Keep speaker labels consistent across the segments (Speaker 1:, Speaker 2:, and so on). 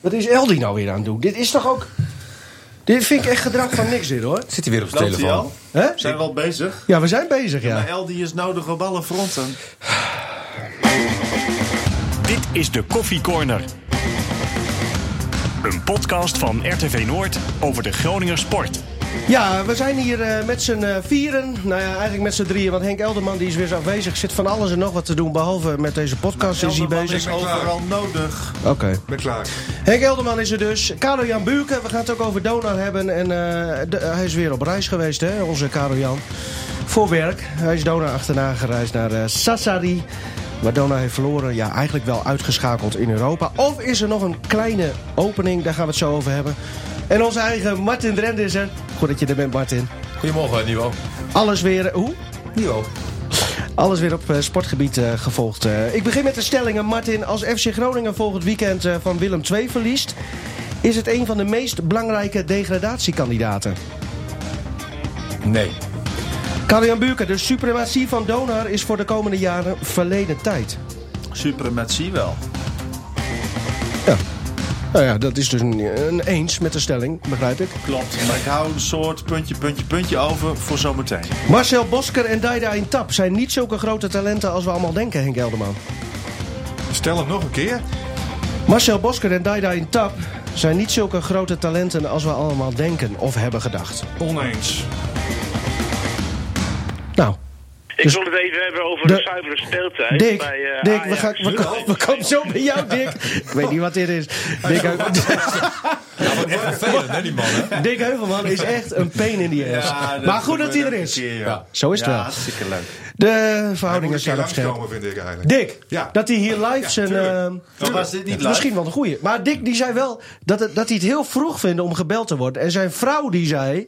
Speaker 1: Wat is Eldi nou weer aan het doen? Dit is toch ook... Dit vind ik echt gedrag van niks dit hoor.
Speaker 2: Zit hij weer op zijn
Speaker 3: Loopt hij
Speaker 2: telefoon?
Speaker 3: al?
Speaker 1: Hè?
Speaker 3: Zijn we al bezig?
Speaker 1: Ja, we zijn bezig ja.
Speaker 3: Maar El die is nodig op alle fronten.
Speaker 4: Dit is de Koffie Corner. Een podcast van RTV Noord over de Groninger sport.
Speaker 1: Ja, we zijn hier eh, met z'n eh, vieren. Nou ja, eigenlijk met z'n drieën. Want Henk Elderman die is weer eens afwezig. Zit van alles en nog wat te doen. Behalve met deze podcast is hij
Speaker 3: Elderman
Speaker 1: bezig.
Speaker 3: is overal nodig.
Speaker 1: Oké.
Speaker 5: ben klaar.
Speaker 1: Henk Elderman is er dus. Karel Jan Buurken, we gaan het ook over Donar hebben. En eh, de- hij is weer op reis geweest, hè, onze Karel Jan. Voor werk. Hij is Donar achterna gereisd naar eh, Sassari. Waar Donar heeft verloren. Ja, eigenlijk wel uitgeschakeld in Europa. Of is er nog een kleine opening? Daar gaan we het zo over hebben. En onze eigen Martin Drende is er. Goed dat je er bent, Martin.
Speaker 5: Goedemorgen, Nico.
Speaker 1: Alles weer, eh, hoe?
Speaker 5: Nico.
Speaker 1: Alles weer op eh, sportgebied eh, gevolgd. Eh, ik begin met de stellingen. Martin, als FC Groningen volgend weekend eh, van Willem II verliest... is het een van de meest belangrijke degradatiekandidaten.
Speaker 2: Nee.
Speaker 1: Karel-Jan Buurken, de suprematie van Donar is voor de komende jaren verleden tijd.
Speaker 3: Suprematie wel.
Speaker 1: Ja. Nou ja, dat is dus een, een eens met de stelling, begrijp ik.
Speaker 3: Klopt. Maar ik hou een soort puntje, puntje, puntje over voor zometeen.
Speaker 1: Marcel Bosker en Daida Intap zijn niet zulke grote talenten als we allemaal denken, Henk Elderman.
Speaker 5: Stel hem nog een keer.
Speaker 1: Marcel Bosker en Daida Intap zijn niet zulke grote talenten als we allemaal denken of hebben gedacht.
Speaker 5: Oneens.
Speaker 1: Nou,
Speaker 6: Ik
Speaker 1: Dus-
Speaker 6: wil het even hebben over
Speaker 1: De-
Speaker 6: de, zuivere speeltijd.
Speaker 1: Dick,
Speaker 6: bij, eh,
Speaker 1: Dick we,
Speaker 6: Ajax.
Speaker 1: gaan, we, ko- we komen zo bij jou, Dick. Ik weet niet wat dit is. Dick, Heu-
Speaker 5: Ja, wat echt vervelend, hè, die man, hè?
Speaker 1: Dick Heuvelman is echt een pain in die ass.
Speaker 3: dat
Speaker 1: maar goed dat hij er
Speaker 3: gebeurt
Speaker 1: is.
Speaker 3: elke keer, joh.
Speaker 5: Ja.
Speaker 1: Zo is het
Speaker 3: Ja,
Speaker 1: wel.
Speaker 3: hartstikke leuk.
Speaker 1: De
Speaker 5: Hij moet
Speaker 1: verhoudingen
Speaker 5: een keer
Speaker 1: staan op scherp.
Speaker 5: langskomen, vind ik eigenlijk.
Speaker 1: Dick,
Speaker 5: Ja.
Speaker 1: dat hij hier live zijn...
Speaker 5: tuurlijk.
Speaker 1: ehm,
Speaker 3: Dan was dit niet leuk.
Speaker 1: Misschien wel een goeie. Maar Dick die zei wel dat, het, dat hij het heel vroeg vindt om gebeld te worden. En zijn vrouw die zei...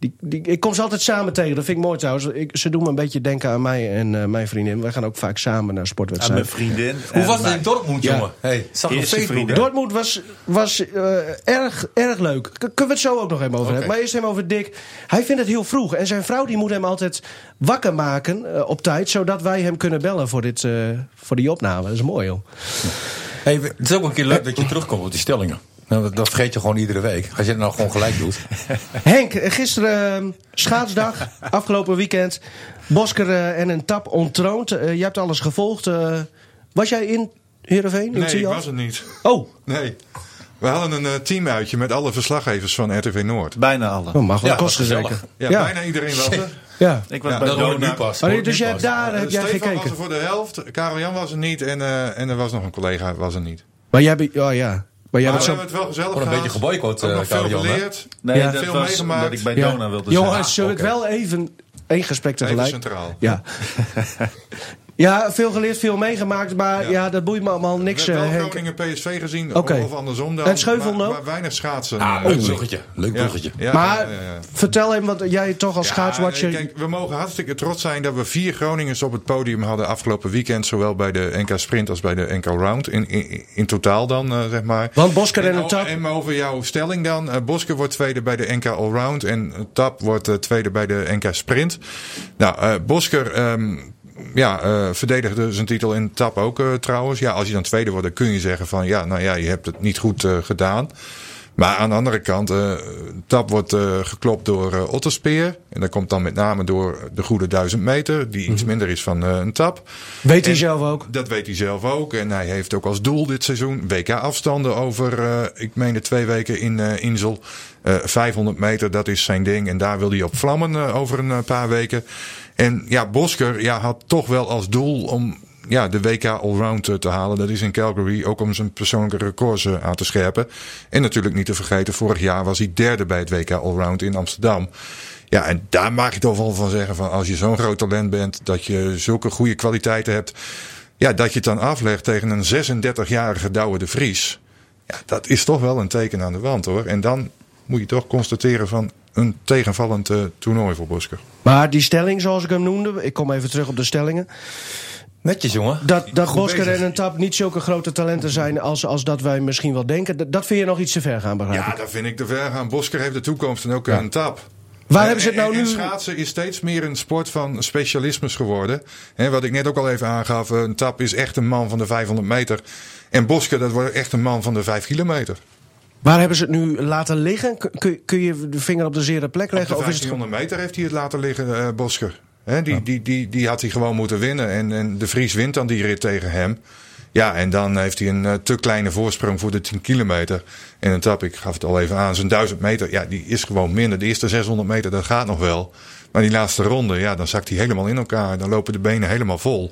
Speaker 1: Die, die, ik kom ze altijd samen tegen. Dat vind ik mooi trouwens. Ik, ze doen me een beetje denken aan mij en eh, mijn vriendin. Wij gaan ook vaak samen naar
Speaker 3: Aan mijn
Speaker 1: sportwedstrijden.
Speaker 3: vriendin.
Speaker 2: Hoe
Speaker 3: en
Speaker 2: was het
Speaker 3: mijn-
Speaker 2: in Dortmund,
Speaker 1: Ja.
Speaker 2: jongen? Hey, zag nog
Speaker 3: Eerste
Speaker 2: Facebook.
Speaker 3: vrienden.
Speaker 1: Dortmund was, was eh, erg, erg leuk. K- kunnen we het zo ook nog even over hebben. Maar eerst even over Dick. Hij vindt het heel vroeg. En zijn vrouw die moet hem altijd wakker maken eh, op tijd. Zodat wij hem kunnen bellen voor, dit, eh, voor die opname. Dat is mooi, joh.
Speaker 2: Hey, het is ook een keer leuk dat je terugkomt op die stellingen. Nou, dat- Dat vergeet je gewoon iedere week. Als je het nou gewoon gelijk doet.
Speaker 1: Henk, eh, gisteren eh, schaatsdag. afgelopen weekend. Bosker eh, en een tap ontroond. Eh, je hebt alles gevolgd. eh. was jij in Heerenveen? In
Speaker 5: Nee, ik
Speaker 1: Tialf?
Speaker 5: was het niet.
Speaker 1: Oh,
Speaker 5: Nee. We hadden een eh, teamuitje met alle verslaggevers van RTV Noord.
Speaker 3: Bijna alle.
Speaker 1: dat oh, mag wel
Speaker 2: Ja,
Speaker 1: kosten
Speaker 2: gezellig.
Speaker 1: zeker.
Speaker 5: Ja,
Speaker 1: Ja.
Speaker 5: bijna iedereen was er.
Speaker 1: Ja.
Speaker 3: Ik was
Speaker 5: Ja,
Speaker 3: bij
Speaker 2: Dat hoor ik nu
Speaker 3: Dona.
Speaker 2: pas.
Speaker 1: Maar,
Speaker 2: Hoor ik nu
Speaker 1: dus jij,
Speaker 2: pas.
Speaker 1: daar heb
Speaker 5: Eh,
Speaker 1: jij
Speaker 5: Stefan was
Speaker 1: gekeken.
Speaker 5: er voor de helft, Karel Jan was er niet en, eh, en er was nog een collega was er niet.
Speaker 1: Maar jij bent. Oh ja. Maar jij
Speaker 5: maar
Speaker 1: bent
Speaker 5: we
Speaker 1: zo.
Speaker 5: hebben het wel gezellig
Speaker 2: Gewoon een
Speaker 5: gehad.
Speaker 2: beetje geboycott,
Speaker 5: Ook
Speaker 2: eh,
Speaker 5: nog veel
Speaker 2: Karel Jan, hè?
Speaker 5: geleerd.
Speaker 3: Nee,
Speaker 1: Ja.
Speaker 3: dat
Speaker 5: Veel
Speaker 3: was
Speaker 5: meegemaakt.
Speaker 3: dat ik bij
Speaker 1: Ja.
Speaker 3: Dona wilde zijn.
Speaker 1: Jongens, zullen we het wel even één gesprek tegelijk?
Speaker 5: Even centraal.
Speaker 1: Ja. ja, veel geleerd, veel meegemaakt, maar ja, dat boeit me allemaal niks.
Speaker 5: we
Speaker 1: eh,
Speaker 5: hebben wel
Speaker 1: Henk.
Speaker 5: Groningen PSV gezien,
Speaker 1: Oké.
Speaker 5: of andersom dan.
Speaker 1: En Scheuvel
Speaker 5: maar,
Speaker 1: ook?
Speaker 5: maar weinig schaatsen.
Speaker 2: Ah,
Speaker 5: Eh,
Speaker 2: leuk bruggetje. Leuk
Speaker 5: ja,
Speaker 2: bruggetje.
Speaker 5: ja,
Speaker 1: maar
Speaker 5: ja, ja, ja.
Speaker 1: vertel hem wat jij toch als schaatswatcher.
Speaker 5: Ja, nee, kijk, we mogen hartstikke trots zijn dat we vier Groningers op het podium hadden afgelopen weekend. Zowel bij de NK Sprint als bij de NK Round. In, in, in totaal dan, eh, zeg maar.
Speaker 1: Want Bosker en
Speaker 5: En,
Speaker 1: een
Speaker 5: o-
Speaker 1: tap.
Speaker 5: en over jouw stelling dan. eh, Bosker wordt tweede bij de NK Allround. En eh, Tap wordt eh, tweede bij de NK Sprint. Nou, eh, Bosker ehm, ja, eh, verdedigde zijn titel in Tap ook eh, trouwens. Ja, als je dan tweede wordt, dan kun je zeggen van... Ja, nou ja, je hebt het niet goed eh, gedaan. Maar aan de andere kant, eh, Tap wordt eh, geklopt door eh, Otterspeer. En dat komt dan met name door de goede duizend meter. Die iets minder is van eh, een Tap.
Speaker 1: Weet hij
Speaker 5: en-
Speaker 1: Mhm. zelf ook.
Speaker 5: Dat weet hij zelf ook. En hij heeft ook als doel dit seizoen WK-afstanden over, eh, ik meen de twee weken in eh, Insel. Eh, 500 meter, dat is zijn ding. En daar wil hij op vlammen eh, over een eh, paar weken. En ja, Bosker ja, had toch wel als doel om ja, de WK Allround eh, te halen. Dat is in Calgary ook om zijn persoonlijke records eh, aan te scherpen. En natuurlijk niet te vergeten, vorig jaar was hij derde bij het WK Allround in Amsterdam. Ja, en daar mag je toch wel van zeggen van als je zo'n groot talent bent, dat je zulke goede kwaliteiten hebt. Ja, dat je het dan aflegt tegen een 36-jarige Douwe de Vries. Ja, dat is toch wel een teken aan de wand hoor. En dan moet je toch constateren van een tegenvallend eh, toernooi voor Bosker.
Speaker 1: Maar die stelling, zoals ik hem noemde, ik kom even terug op de stellingen.
Speaker 2: Netjes, jongen.
Speaker 1: Dat, dat Bosker
Speaker 5: bezig.
Speaker 1: en een tap niet zulke grote talenten zijn als, als dat wij misschien wel denken. Dat, dat vind je nog iets te ver gaan, begrijp
Speaker 5: Ja,
Speaker 1: ik.
Speaker 5: dat vind ik te ver gaan. Bosker heeft de toekomst en ook een tap.
Speaker 1: Waar
Speaker 5: En-
Speaker 1: hebben ze het nou
Speaker 5: en- en
Speaker 1: nu-
Speaker 5: schaatsen is steeds meer een sport van specialismes geworden. Hè, wat ik net ook al even aangaf, eh, een tap is echt een man van de 500 meter. En Boske, dat wordt echt een man van de vijf kilometer.
Speaker 1: Waar hebben ze het nu laten liggen? K- Kun, kun je de vinger op de zere plek
Speaker 5: Op
Speaker 1: leggen?
Speaker 5: de
Speaker 1: Of is het
Speaker 5: 1500 meter heeft hij het laten liggen, eh, Bosker. Hè, die, die, die, die had hij gewoon moeten winnen. En, en de Vries wint dan die rit tegen hem. Ja, en dan heeft hij een eh, te kleine voorsprong voor de 10 kilometer. En een tap, ik gaf het al even aan, zijn 1000 meter, ja, die is gewoon minder. De eerste 600 meter, dat gaat nog wel. Maar die laatste ronde, ja, dan zakt hij helemaal in elkaar. Dan lopen de benen helemaal vol.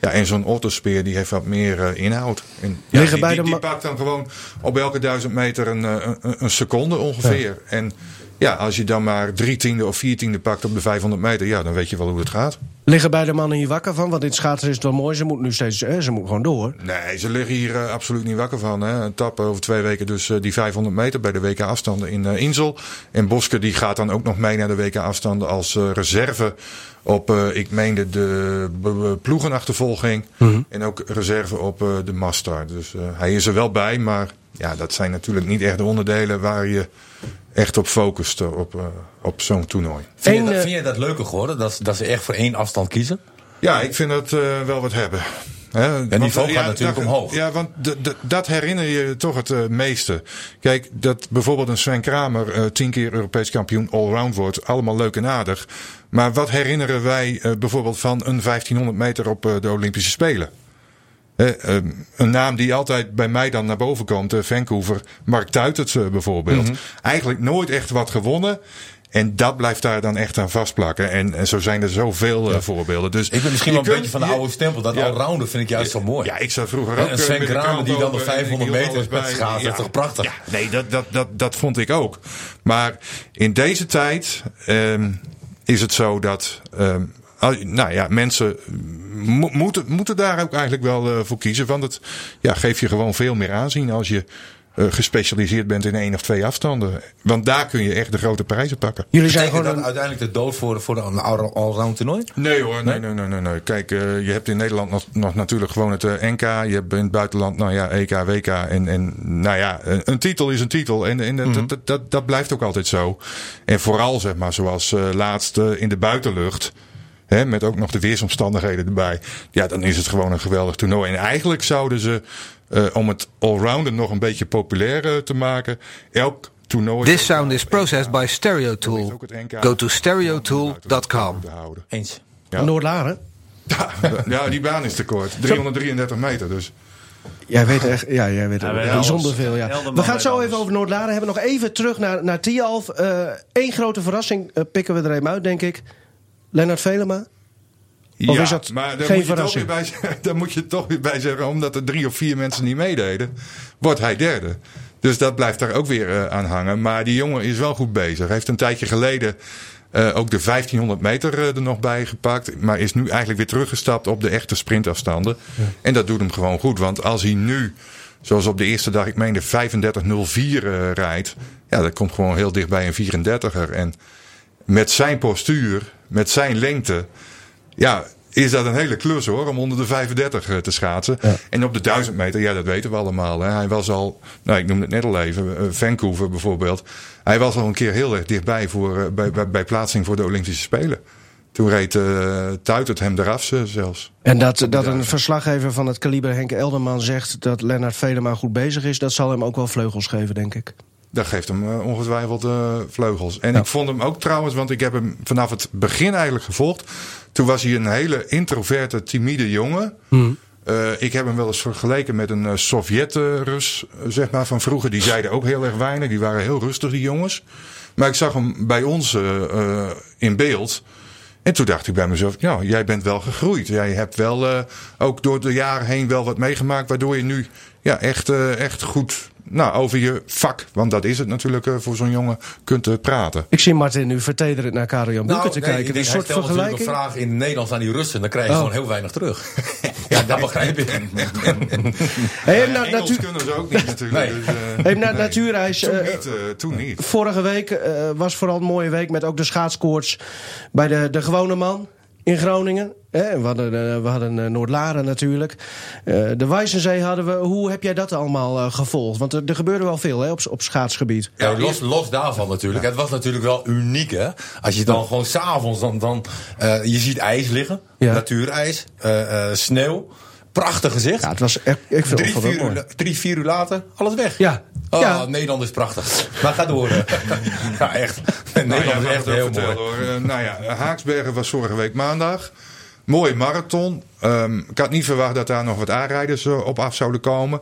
Speaker 5: Ja, en zo'n ottospeer, die heeft wat meer eh, inhoud. En, ja,
Speaker 1: Liggen
Speaker 5: die,
Speaker 1: bij
Speaker 5: die-
Speaker 1: de
Speaker 5: die
Speaker 1: ma-
Speaker 5: pakt dan gewoon op elke duizend meter een, eh, een, een seconde ongeveer. En ja, als je dan maar drie tiende of vier tiende pakt op de 500 meter, ja, dan weet je wel hoe het gaat.
Speaker 1: Liggen beide mannen hier wakker van? Want dit schaatsen is het wel mooi. Ze moeten nu steeds, hè, ze moeten gewoon door.
Speaker 5: Nee, ze liggen hier eh, absoluut niet wakker van. Hè. Een tap over twee weken dus eh, die 500 meter bij de WK afstanden in eh, Insel. En Boske die gaat dan ook nog mee naar de WK afstanden als eh, reserve op, eh, ik meende, de b- b- ploegenachtervolging. En ook reserve op eh, de Master. Dus eh, hij is er wel bij, maar ja, dat zijn natuurlijk niet echt de onderdelen waar je echt op focust eh, op, eh, op zo'n toernooi.
Speaker 2: Vind, je
Speaker 1: Eén,
Speaker 2: dat,
Speaker 1: eh,
Speaker 2: vind je dat leuker geworden? Dat, ze- dat ze echt voor één afstand kiezen?
Speaker 5: Ja, ik vind dat eh, wel wat hebben. Hè, want,
Speaker 2: niveau
Speaker 5: eh,
Speaker 2: gaat natuurlijk
Speaker 5: dat-
Speaker 2: omhoog.
Speaker 5: Ja, want d- d- dat herinner je toch het eh, meeste. Kijk, dat bijvoorbeeld een Sven Kramer eh, tien keer Europees kampioen allround wordt. Allemaal leuk en aardig. Maar wat herinneren wij eh, bijvoorbeeld van een 1500 meter op eh, de Olympische Spelen? Hè, ehm, een naam die altijd bij mij dan naar boven komt, eh, Vancouver, Mark Tuitert eh, bijvoorbeeld.
Speaker 2: Mhm.
Speaker 5: Eigenlijk nooit echt wat gewonnen. En dat blijft daar dan echt aan vastplakken. En, en zo zijn er zoveel eh, voorbeelden. Dus
Speaker 2: Ik ben misschien
Speaker 5: je
Speaker 2: wel een
Speaker 5: kunt-
Speaker 2: beetje van de
Speaker 5: je-
Speaker 2: oude stempel. Dat
Speaker 5: Ja.
Speaker 2: allrounder vind ik juist zo mooi.
Speaker 5: Ja, ik zou vroeger
Speaker 2: En
Speaker 5: ook... eh,
Speaker 2: Sven
Speaker 5: met de
Speaker 2: Kramer
Speaker 5: krant
Speaker 2: die dan de
Speaker 5: lopen en
Speaker 2: 500
Speaker 5: ik hield
Speaker 2: meter
Speaker 5: alles
Speaker 2: met
Speaker 5: bij.
Speaker 2: schaatsen. Dat is toch prachtig?
Speaker 5: Ja, nee, dat, dat, dat, dat vond ik ook. Maar in deze tijd ehm, is het zo dat... ehm, al- nou ja, mensen mo- moeten, moeten daar ook eigenlijk wel eh, voor kiezen. Want het ja, geeft je gewoon veel meer aanzien als je eh, gespecialiseerd bent in één of twee afstanden. Want daar kun je echt de grote prijzen pakken.
Speaker 1: Jullie zijn
Speaker 2: Betekent
Speaker 1: gewoon
Speaker 2: dat
Speaker 1: een,
Speaker 2: uiteindelijk de dood voor, voor een all- allround toernooi?
Speaker 5: Nee hoor, nee, nee, nee, nee. nee. Kijk, eh, je hebt in Nederland nog, nog natuurlijk gewoon het eh, NK. Je hebt in het buitenland, nou ja, EK, WK. En, en nou ja, een, een titel is een titel. En, en dat-
Speaker 6: Mhm.
Speaker 5: dat, dat, dat, dat blijft ook altijd zo. En vooral, zeg maar, zoals eh, laatst eh, in de buitenlucht. Hè, met ook nog de weersomstandigheden erbij. Ja, dan is het gewoon een geweldig toernooi. En eigenlijk zouden ze, eh, om het allrounder nog een beetje populair eh, te maken, elk toernooi.
Speaker 6: This sound is processed by
Speaker 5: Is
Speaker 6: Stereotool.
Speaker 5: ook het NK.
Speaker 6: Go to stereotool.com.
Speaker 5: te houden.
Speaker 2: Eens.
Speaker 5: Ja.
Speaker 1: Noord-Laren.
Speaker 5: Ja, ja, die baan is te kort. 333 meter dus.
Speaker 1: Jij weet echt, ja, jij weet
Speaker 3: Hij
Speaker 1: er
Speaker 3: weet
Speaker 1: bijzonder
Speaker 3: alles.
Speaker 1: veel. Ja.
Speaker 3: Helderman
Speaker 1: We gaan het
Speaker 3: weet
Speaker 1: zo
Speaker 3: alles.
Speaker 1: even over Noord-Laren hebben. Nog even terug naar, naar Tialf. Eén grote verrassing eh, pikken we er even uit, denk ik. Lennart Velema. Of is dat
Speaker 5: maar
Speaker 1: geen
Speaker 5: daar moet, je toch
Speaker 1: verrassing?
Speaker 5: weer bij, zeggen- daar moet je toch weer bij zeggen, omdat er drie of vier mensen niet meededen, wordt hij derde. Dus dat blijft daar ook weer eh, aan hangen. Maar die jongen is wel goed bezig. Hij heeft een tijdje geleden eh, ook de 1500 meter eh, er nog bij gepakt. Maar is nu eigenlijk weer teruggestapt op de echte sprintafstanden. En dat doet hem gewoon goed. Want als hij nu, zoals op de eerste dag, ik meende 35.04 eh, rijdt. Ja, dat komt gewoon heel dicht bij een 34er. En met zijn postuur, met zijn lengte. Ja, is dat een hele klus hoor, om onder de 35 eh, te schaatsen. En op de 1000 meter, ja, dat weten we allemaal. Hè. Hij was al, nou, ik noemde het net al even, eh, Vancouver bijvoorbeeld. Hij was al een keer heel erg dichtbij voor, eh, bij, bij, bij plaatsing voor de Olympische Spelen. Toen reed eh Tuitert hem eraf eh, zelfs.
Speaker 1: En dat, dat een verslaggever van het kaliber Henk Elderman zegt dat Lennart Velema goed bezig is, dat zal hem ook wel vleugels geven, denk ik.
Speaker 5: Dat geeft hem eh, ongetwijfeld eh, vleugels. En ik vond hem ook trouwens, want ik heb hem vanaf het begin eigenlijk gevolgd. Toen was hij een hele introverte, timide jongen. Eh, ik heb hem wel eens vergeleken met een eh, Sovjet-Rus, eh, zeg maar, van vroeger. Die zeiden ook heel erg weinig. Die waren heel rustig, die jongens. Maar ik zag hem bij ons eh, eh, in beeld. En toen dacht ik bij mezelf, ja, jij bent wel gegroeid. Jij hebt wel eh, ook door de jaren heen wel wat meegemaakt. Waardoor je nu ja, echt, eh, echt goed nou, over je vak, want dat is het natuurlijk eh, voor zo'n jongen, kunt eh, praten.
Speaker 1: Ik zie Martin nu vertederend naar Karel Jan Boeken te
Speaker 2: Nou, nee, ik
Speaker 1: kijken.
Speaker 2: denk,
Speaker 1: Een
Speaker 2: hij
Speaker 1: soort
Speaker 2: stelt natuurlijk
Speaker 1: vergelijking. Oh.
Speaker 2: een vraag in het Nederlands aan die Russen. Dan krijg je gewoon heel weinig terug. ja, dat begrijp ik.
Speaker 1: Hey, hem naar
Speaker 5: Engels
Speaker 1: natuur,
Speaker 5: kunnen ze ook niet natuurlijk.
Speaker 2: Nee.
Speaker 5: dus, eh,
Speaker 1: Nou, hey, hem naar
Speaker 5: nee.
Speaker 1: natuurijs.
Speaker 5: Toen
Speaker 1: eh,
Speaker 5: niet, eh, toen niet.
Speaker 1: Vorige week eh, was vooral een mooie week met ook de schaatskoorts bij de, de gewone man in Groningen. Hè, en we hadden, eh, we hadden eh, Noord-Laren natuurlijk. Eh, de Wijzenzee hadden we. Hoe heb jij dat allemaal eh, gevolgd? Want er, er gebeurde wel veel hè, op, s- op schaatsgebied.
Speaker 2: Ja, los, los daarvan natuurlijk. Het was natuurlijk wel uniek, hè. Als je dan gewoon s'avonds, dan, dan, eh, je ziet ijs liggen.
Speaker 1: Ja.
Speaker 2: Natuurijs. eh, eh, sneeuw. Prachtig gezicht.
Speaker 1: Ja, het was echt, ik vond
Speaker 2: Drie
Speaker 1: vond het
Speaker 2: vier,
Speaker 1: ook mooi.
Speaker 2: uur, drie, vier uur later, alles weg.
Speaker 1: Ja.
Speaker 2: Oh,
Speaker 1: Ja.
Speaker 2: Nederland is prachtig. Maar ga door. ja, echt.
Speaker 5: Nou ja,
Speaker 2: Nederland
Speaker 5: mag
Speaker 2: is
Speaker 5: ik
Speaker 2: echt
Speaker 5: wel
Speaker 2: heel
Speaker 5: vertellen,
Speaker 2: mooi.
Speaker 5: hoor. Eh, nou ja, Haaksbergen was vorige week maandag. Mooie marathon. Ehm, ik had niet verwacht dat daar nog wat aanrijders eh, op af zouden komen.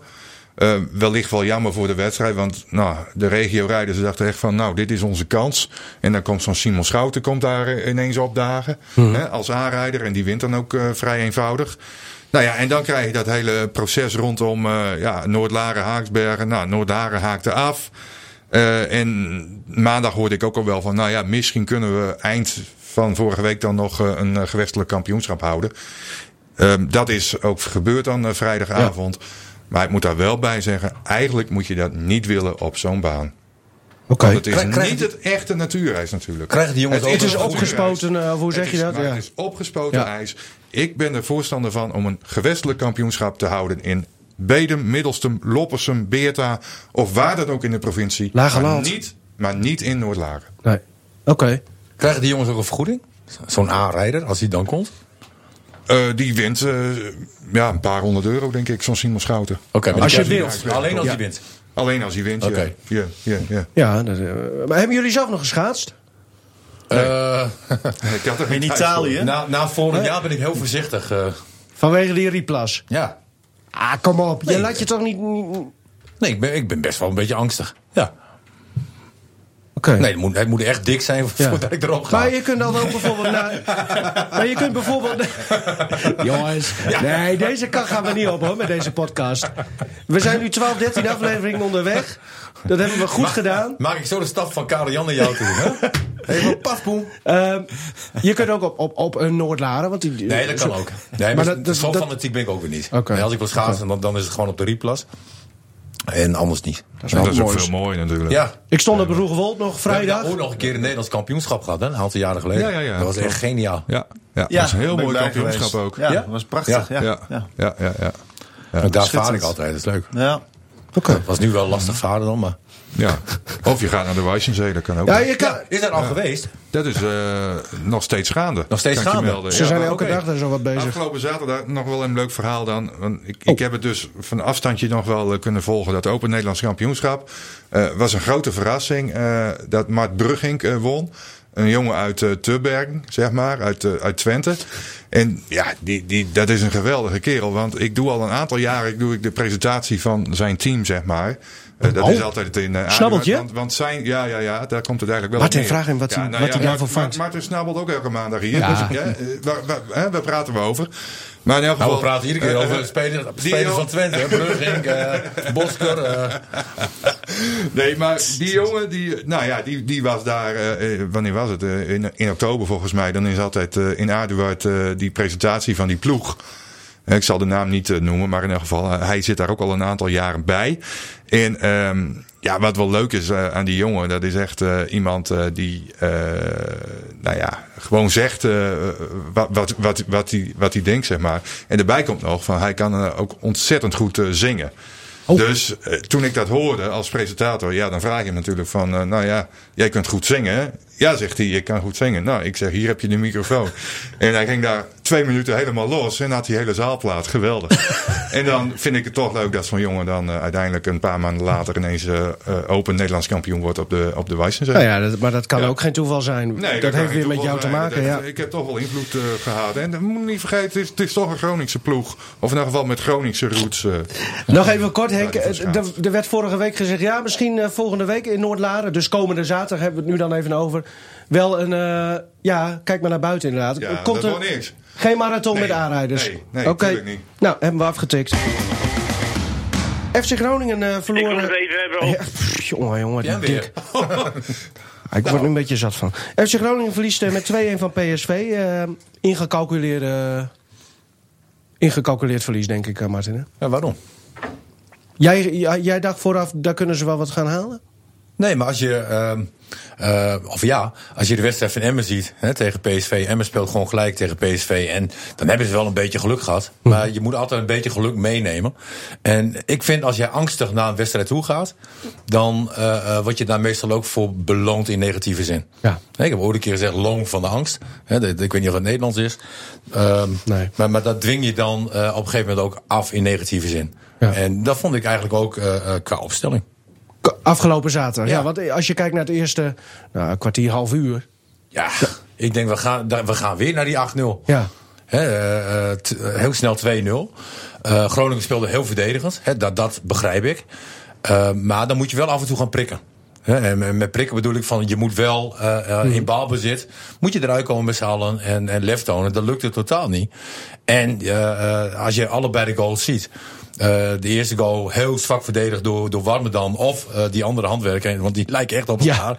Speaker 5: Eh, wellicht wel jammer voor de wedstrijd, want nou, de regio-rijders dachten echt van, nou, dit is onze kans. En dan komt zo'n Simon Schouten komt daar eh, ineens opdagen hè, als aanrijder en die wint dan ook eh, vrij eenvoudig. Nou ja, en dan krijg je dat hele proces rondom eh ja, Noordlaren, Haaksbergen. Nou, Noordlaren haakte af. Eh, en maandag hoorde ik ook al wel van, nou ja, misschien kunnen we eind van vorige week dan nog eh, een eh, gewestelijk kampioenschap houden. Ehm, dat is ook gebeurd dan eh, vrijdagavond. Maar ik moet daar wel bij zeggen, eigenlijk moet je dat niet willen op zo'n baan.
Speaker 1: Oké.
Speaker 5: Want het is
Speaker 2: Krijg- krijg-
Speaker 5: niet het echte natuurijs natuurlijk.
Speaker 2: Krijgen die jongens
Speaker 5: het,
Speaker 2: ook
Speaker 5: is
Speaker 2: een-
Speaker 5: een
Speaker 1: Opgespoten,
Speaker 5: natuurijs.
Speaker 1: eh, of hoe zeg
Speaker 5: Het
Speaker 1: je
Speaker 5: is-
Speaker 1: dat?
Speaker 5: maar
Speaker 1: Ja.
Speaker 5: Het is opgespoten
Speaker 1: Ja.
Speaker 5: ijs. Ik ben er voorstander van om een gewestelijk kampioenschap te houden in Bedum, Middelstum, Loppersum, Beerta of waar dan ook in de provincie.
Speaker 1: Lagerland.
Speaker 5: Maar niet, maar niet in Noordlagen.
Speaker 1: Nee. Oké.
Speaker 2: Krijgen die jongens ook een vergoeding? Zo'n aanrijder, als die dan komt?
Speaker 5: Eh, die wint eh, ja, een paar honderd euro, denk ik, zo'n Simon Schouten.
Speaker 2: Oké, maar
Speaker 1: Als
Speaker 2: die
Speaker 1: je
Speaker 2: krijgen-
Speaker 1: wilt.
Speaker 2: Alleen als
Speaker 1: Ja.
Speaker 2: je wint.
Speaker 5: Alleen als hij wint,
Speaker 2: Oké.
Speaker 5: ja. ja, ja, ja.
Speaker 1: Ja, dat, eh, maar hebben jullie zelf nog geschaatst?
Speaker 2: Eh,
Speaker 5: Ik had er geen
Speaker 3: In
Speaker 5: tijd
Speaker 3: Italië.
Speaker 2: na, na volgend jaar ben ik heel voorzichtig. eh,
Speaker 1: Vanwege die Riplas.
Speaker 2: ja.
Speaker 1: Ah, kom op. Je
Speaker 2: Nee.
Speaker 1: laat je toch niet... niet- Oké.
Speaker 2: Nee, ik ben, ik ben best wel een beetje angstig. Ja. Nee, het moet, het moet echt dik zijn
Speaker 1: Ja.
Speaker 2: voordat ik erop ga.
Speaker 1: Maar je kunt dan ook bijvoorbeeld naar... maar je kunt bijvoorbeeld... Jongens, nee, deze kant gaan we niet op hoor, met deze podcast. We zijn nu 12, 13 afleveringen onderweg. Dat hebben we goed gedaan.
Speaker 2: Maak ik zo de stap van Karel Jan naar jou toe. Hè? Even pafpoem.
Speaker 1: Ehm, je kunt ook op, op, op een Noordlaren, want die...
Speaker 2: Nee, dat kan ook. Nee, maar,
Speaker 1: Maar
Speaker 2: dat,
Speaker 1: dat- dat-
Speaker 2: zo
Speaker 1: dat-
Speaker 2: fanatiek ben ik ook weer niet.
Speaker 1: Oké.
Speaker 2: Nee, als ik wil schaatsen, dan, dan is het gewoon op de rieplas. En anders niet.
Speaker 1: is
Speaker 5: voor.
Speaker 1: wel
Speaker 5: Dat is ook
Speaker 1: moois.
Speaker 5: veel mooier natuurlijk.
Speaker 2: Ja.
Speaker 1: Ik stond op Roegewold nog
Speaker 2: We
Speaker 1: vrijdag.
Speaker 2: hebben ook nog een keer een Nederlands kampioenschap gehad, hè? een aantal jaren geleden.
Speaker 5: Ja, ja, ja.
Speaker 2: Dat was echt geniaal.
Speaker 5: Ja, ja,
Speaker 3: Ja,
Speaker 5: dat is een heel
Speaker 3: ben
Speaker 5: mooi
Speaker 3: ik bij
Speaker 5: kampioenschap
Speaker 3: geweest.
Speaker 5: ook.
Speaker 3: Ja,
Speaker 2: Ja?
Speaker 3: dat was prachtig. Ja, ja. ja.
Speaker 5: ja, ja. ja.
Speaker 2: En daar vaar
Speaker 3: Schitterend.
Speaker 2: ik altijd, dat is leuk.
Speaker 1: Oké.
Speaker 2: Het was nu wel lastig varen dan, maar...
Speaker 5: Ja. Of je gaat naar de Weissensee, dat kan ook.
Speaker 1: Ja, je kan...
Speaker 2: Is dat al geweest?
Speaker 5: Dat is eh, nog steeds gaande.
Speaker 2: Nog steeds
Speaker 5: kan ik je
Speaker 2: gaande.
Speaker 5: melden.
Speaker 1: Ze
Speaker 5: Ja.
Speaker 1: zijn elke
Speaker 2: oké.
Speaker 1: dag daar zo wat bezig. Oh.
Speaker 5: Afgelopen zaterdag nog wel een leuk verhaal dan. Want ik, ik heb het dus van afstandje nog wel eh, kunnen volgen. Dat Open Nederlands Kampioenschap. Eh was een grote verrassing eh, dat Mart Brugging eh, won. Een jongen uit eh Tubbergen, zeg maar, uit, eh, uit Twente. En ja, die, die, dat is een geweldige kerel. Want ik doe al een aantal jaren ik doe ik de presentatie van zijn team, zeg maar. Eh, dat is altijd in uh,
Speaker 1: Oh. Snabbeltje?
Speaker 5: Want, want zijn, ja, ja, ja, daar komt het eigenlijk wel
Speaker 1: Martin,
Speaker 5: op neer. nou
Speaker 1: vraag hem wat hij- wat hij daarvan
Speaker 5: Maarten-
Speaker 1: vangt.
Speaker 5: Maarten snabbelt ook elke maandag hier.
Speaker 1: Ja.
Speaker 5: Dus, ja, eh, waar, waar, hè, waar praten we over? Maar in elk
Speaker 2: Nou,
Speaker 5: geval,
Speaker 2: we praten iedere keer
Speaker 5: eh,
Speaker 2: over
Speaker 5: eh,
Speaker 2: spelers,
Speaker 5: die
Speaker 2: spelers
Speaker 5: jongen-
Speaker 2: van Twente. hè. Brugink, eh Bosker. eh,
Speaker 5: Nee, maar die jongen, die, nou ja, die, die was daar, eh, eh, wanneer was het? Eh, in, in oktober volgens mij. Dan is altijd eh, in Aduard eh, die presentatie van die ploeg. Eh, Ik zal de naam niet eh, noemen, maar in elk geval, eh, hij zit daar ook al een aantal jaren bij. En ehm, ja, wat wel leuk is eh, aan die jongen, dat is echt eh, iemand eh, die, eh, nou ja, gewoon zegt eh, wat, wat, wat, wat, hij, wat hij denkt, zeg maar. En daarbij komt nog van, hij kan eh, ook ontzettend goed eh, zingen.
Speaker 1: Oh.
Speaker 5: Dus eh, toen ik dat hoorde als presentator, ja, dan vraag je hem natuurlijk van, eh, nou ja, jij kunt goed zingen, hè? Ja, zegt hij, ik kan goed zingen. Nou, ik zeg, hier heb je de microfoon. en hij ging daar twee minuten helemaal los en had die hele zaal plaat. Geweldig. en dan vind ik het toch leuk dat zo'n jongen dan eh, uiteindelijk een paar maanden later ineens eh, eh, open Nederlands kampioen wordt op de, op de Wijsenzee.
Speaker 1: Nou ja, dat, maar dat kan
Speaker 5: Ja.
Speaker 1: ook geen toeval zijn. dat
Speaker 5: kan
Speaker 1: heeft
Speaker 5: geen
Speaker 1: weer met
Speaker 5: toeval
Speaker 1: jou te
Speaker 5: zijn.
Speaker 1: maken.
Speaker 5: Dat-
Speaker 1: Ja.
Speaker 5: Ik heb toch wel invloed eh, gehad. En dat moet je niet vergeten, het is, het is toch een Groningse ploeg. Of in elk geval met Groningse roots. eh.
Speaker 1: Nog even kort, Henk.
Speaker 5: die
Speaker 1: Eh,
Speaker 5: verschaalt.
Speaker 1: Er er werd vorige week gezegd, ja, misschien eh, volgende week in Noordlaren. Dus komende zaterdag hebben we het nu dan even over. Wel een, eh, ja, kijk maar naar buiten inderdaad.
Speaker 5: Ja,
Speaker 1: Komt
Speaker 5: dat
Speaker 1: er
Speaker 5: wordt niks.
Speaker 1: Geen marathon
Speaker 5: Nee,
Speaker 1: met aanrijders.
Speaker 5: nee, nee,
Speaker 1: Oké.
Speaker 5: tuurlijk niet.
Speaker 1: Nou, hebben we afgetikt. FC Groningen eh verloor...
Speaker 7: Ik wil het even hebben over-
Speaker 1: Ja, pff, jongen, jongen, die
Speaker 2: Jij
Speaker 1: dik.
Speaker 2: weer.
Speaker 1: Ah, Ik word er een beetje zat van. FC Groningen verliest eh, met 2-1 van PSV. eh, ingecalculeerde, ingecalculeerd verlies, denk ik, eh, Martin. hè?
Speaker 2: Ja, waarom?
Speaker 1: Jij, jij, jij dacht vooraf, daar kunnen ze wel wat gaan halen?
Speaker 2: Nee, maar als je. ehm, eh, of ja, als je de wedstrijd van Emmen ziet hè, tegen PSV. Emmen speelt gewoon gelijk tegen PSV. En dan hebben ze wel een beetje geluk gehad.
Speaker 1: Mhm.
Speaker 2: Maar je moet altijd een beetje geluk meenemen. En ik vind als jij angstig naar een wedstrijd toe gaat. dan eh, eh, word je daar meestal ook voor beloond in negatieve zin.
Speaker 1: Ja.
Speaker 2: Hè, Ik heb ooit een keer gezegd: loon van de angst. Hè, dat- Ik weet niet of het Nederlands is. Ehm,
Speaker 1: Nee.
Speaker 2: maar, maar dat dwing je dan eh, op een gegeven moment ook af in negatieve zin.
Speaker 1: Ja.
Speaker 2: En dat vond ik eigenlijk ook eh, eh, qua opstelling.
Speaker 1: K- Afgelopen zaterdag. Ja.
Speaker 2: Ja.
Speaker 1: want eh, als je kijkt naar het eerste nou, kwartier, half uur.
Speaker 2: Ja, ik denk we gaan, da- we gaan weer naar die 8-0.
Speaker 1: Ja.
Speaker 2: Hè, eh, eh, t- eh, heel snel 2-0. Eh, Groningen speelde heel verdedigend. Hè, dat, dat begrijp ik. Eh, maar dan moet je wel af en toe gaan prikken. Hè, en met- met prikken bedoel ik van je moet wel eh, eh, in
Speaker 1: Hmm.
Speaker 2: baalbezit. Moet je eruit komen met z'n allen en, en lef tonen. Dat lukte totaal niet. En eh, eh, als je allebei de goals ziet. eh, de eerste goal heel zwak verdedigd door, door Warmerdam. Of eh, die andere handwerker. Want die lijken echt op
Speaker 1: Ja.
Speaker 2: elkaar.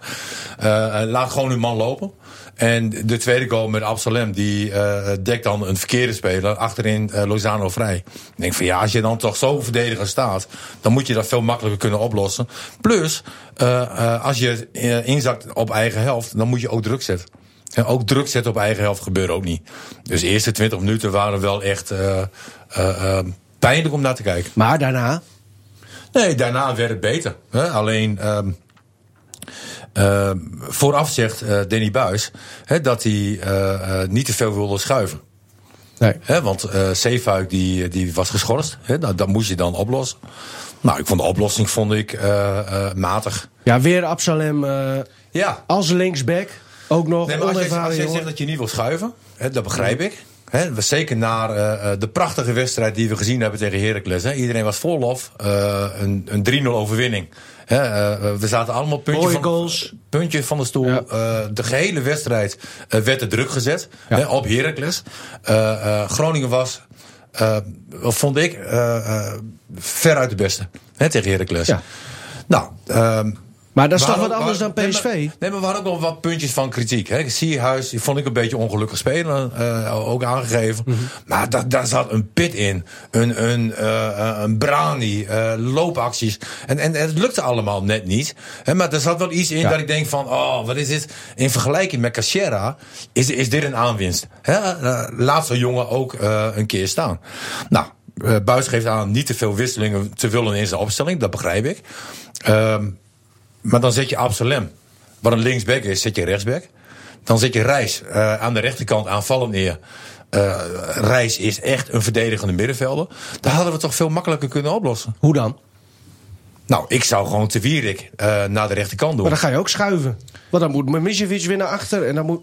Speaker 2: Eh, eh, laat gewoon hun man lopen. En de tweede goal met Absalem, die eh, dekt dan een verkeerde speler. Achterin eh, Lozano vrij. Ik denk van ja, als je dan toch zo verdediger staat, dan moet je dat veel makkelijker kunnen oplossen. Plus, eh, eh, als je eh, inzakt op eigen helft, dan moet je ook druk zetten. En ook druk zetten op eigen helft gebeurt ook niet. Dus de eerste 20 minuten waren wel echt eh, eh, eh, pijnlijk om naar te kijken.
Speaker 1: Maar daarna.
Speaker 2: Nee, daarna werd het beter. Hè? Alleen ehm, ehm, vooraf zegt eh Danny Buis hè, dat hij eh, eh, niet te veel wilde schuiven.
Speaker 1: Nee.
Speaker 2: Hè, want eh Zeefuik die, die was geschorst. Hè? Nou, Dat, dat moest je dan oplossen. Nou, ik vond de oplossing vond ik, eh, eh, matig.
Speaker 1: Ja, weer Absalem eh,
Speaker 2: Ja,
Speaker 1: als linksback. Ook nog
Speaker 2: Nee, maar als jij, als
Speaker 1: onervaren
Speaker 2: jij
Speaker 1: jongen.
Speaker 2: zegt dat je niet wil schuiven, hè, dat begrijp ik. Hè, we- zeker na eh, eh, de prachtige wedstrijd die we gezien hebben tegen Heracles. Hè. Iedereen was vol lof. eh, een een 3-0 overwinning. Hè, eh, eh, we zaten allemaal puntje
Speaker 1: Mooie
Speaker 2: van,
Speaker 1: goals.
Speaker 2: puntje van de stoel.
Speaker 1: Ja.
Speaker 2: Eh, de gehele wedstrijd eh, werd er druk gezet
Speaker 1: Ja.
Speaker 2: hè, op Heracles. Eh, eh, Groningen was, eh, vond ik, eh, eh, veruit de beste hè, tegen Heracles.
Speaker 1: Ja.
Speaker 2: Nou, ehm,
Speaker 1: Maar dat is toch
Speaker 2: Waar
Speaker 1: wat
Speaker 2: ook-
Speaker 1: anders dan
Speaker 2: waar-
Speaker 1: PSV?
Speaker 2: Nee maar, nee, maar we hadden ook wel wat puntjes van kritiek. Hè. Sierhuis die vond ik een beetje ongelukkig spelen, eh, ook aangegeven.
Speaker 1: Mhm.
Speaker 2: Maar da- daar zat een pit in, een, een, eh, eh, een brani, eh, loopacties. En, en het lukte allemaal net niet. Hè, maar er zat wel iets in dat ik denk van, oh, wat is dit? In vergelijking met Cachera is, is dit een aanwinst. Hè? Eh, laat zo'n jongen ook eh, een keer staan. Nou, eh, Buis geeft aan niet te veel wisselingen te willen in zijn opstelling, dat begrijp ik. Ehm, maar dan zet je Absalem, wat een linksback is, zet je rechtsback. Dan zet je Reis eh, aan de rechterkant aanvallend neer. Eh Reis is echt een verdedigende middenvelder. Daar hadden we toch veel makkelijker kunnen oplossen.
Speaker 1: Hoe dan?
Speaker 2: Nou, ik zou gewoon te Wierik eh, naar de rechterkant doen.
Speaker 1: Maar dan ga je ook schuiven. Want dan moet Mimicevic weer naar achter. En dan moet...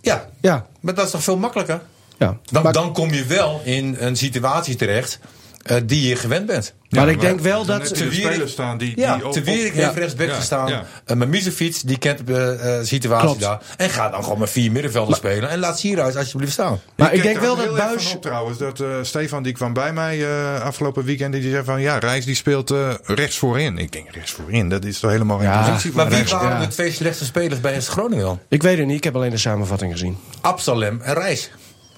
Speaker 2: Ja,
Speaker 1: Ja.
Speaker 2: maar dat is toch veel makkelijker?
Speaker 1: ja.
Speaker 2: Dan,
Speaker 1: maar
Speaker 2: dan kom je wel in een situatie terecht eh, die je gewend bent.
Speaker 1: maar ik denk wel
Speaker 5: Dan
Speaker 1: dat...
Speaker 5: heb je
Speaker 2: Te
Speaker 5: de
Speaker 2: Wierik-
Speaker 5: spelers staan die,
Speaker 2: Ja,
Speaker 5: die op-
Speaker 2: te Wierik
Speaker 5: op-
Speaker 2: heeft
Speaker 5: ja.
Speaker 2: rechtsback
Speaker 5: Ja,
Speaker 2: gestaan.
Speaker 5: ja.
Speaker 2: Eh, maar Misefiets, die kent de situatie
Speaker 1: Klopt.
Speaker 2: daar. En ga dan gewoon met vier middenvelders spelen. En laat Sierhuis alsjeblieft staan.
Speaker 1: Maar ik
Speaker 5: keek
Speaker 1: denk
Speaker 5: daar
Speaker 1: wel
Speaker 5: heel
Speaker 1: dat
Speaker 5: erg van
Speaker 1: Buis...
Speaker 5: op trouwens, dat eh, Stefan die kwam bij mij eh, afgelopen weekend. Die zei van ja, Reis die speelt eh, rechts voorin. Ik denk rechts voorin, dat is toch helemaal geen
Speaker 1: Ja,
Speaker 5: positie. voor
Speaker 2: Ah, Maar wie
Speaker 5: rechts-
Speaker 2: waren
Speaker 1: ja.
Speaker 2: de twee slechtste spelers bij SC Groningen dan?
Speaker 1: Ik weet het niet. Ik heb alleen de samenvatting
Speaker 2: Oh,
Speaker 1: gezien.
Speaker 2: Absalem en Reis.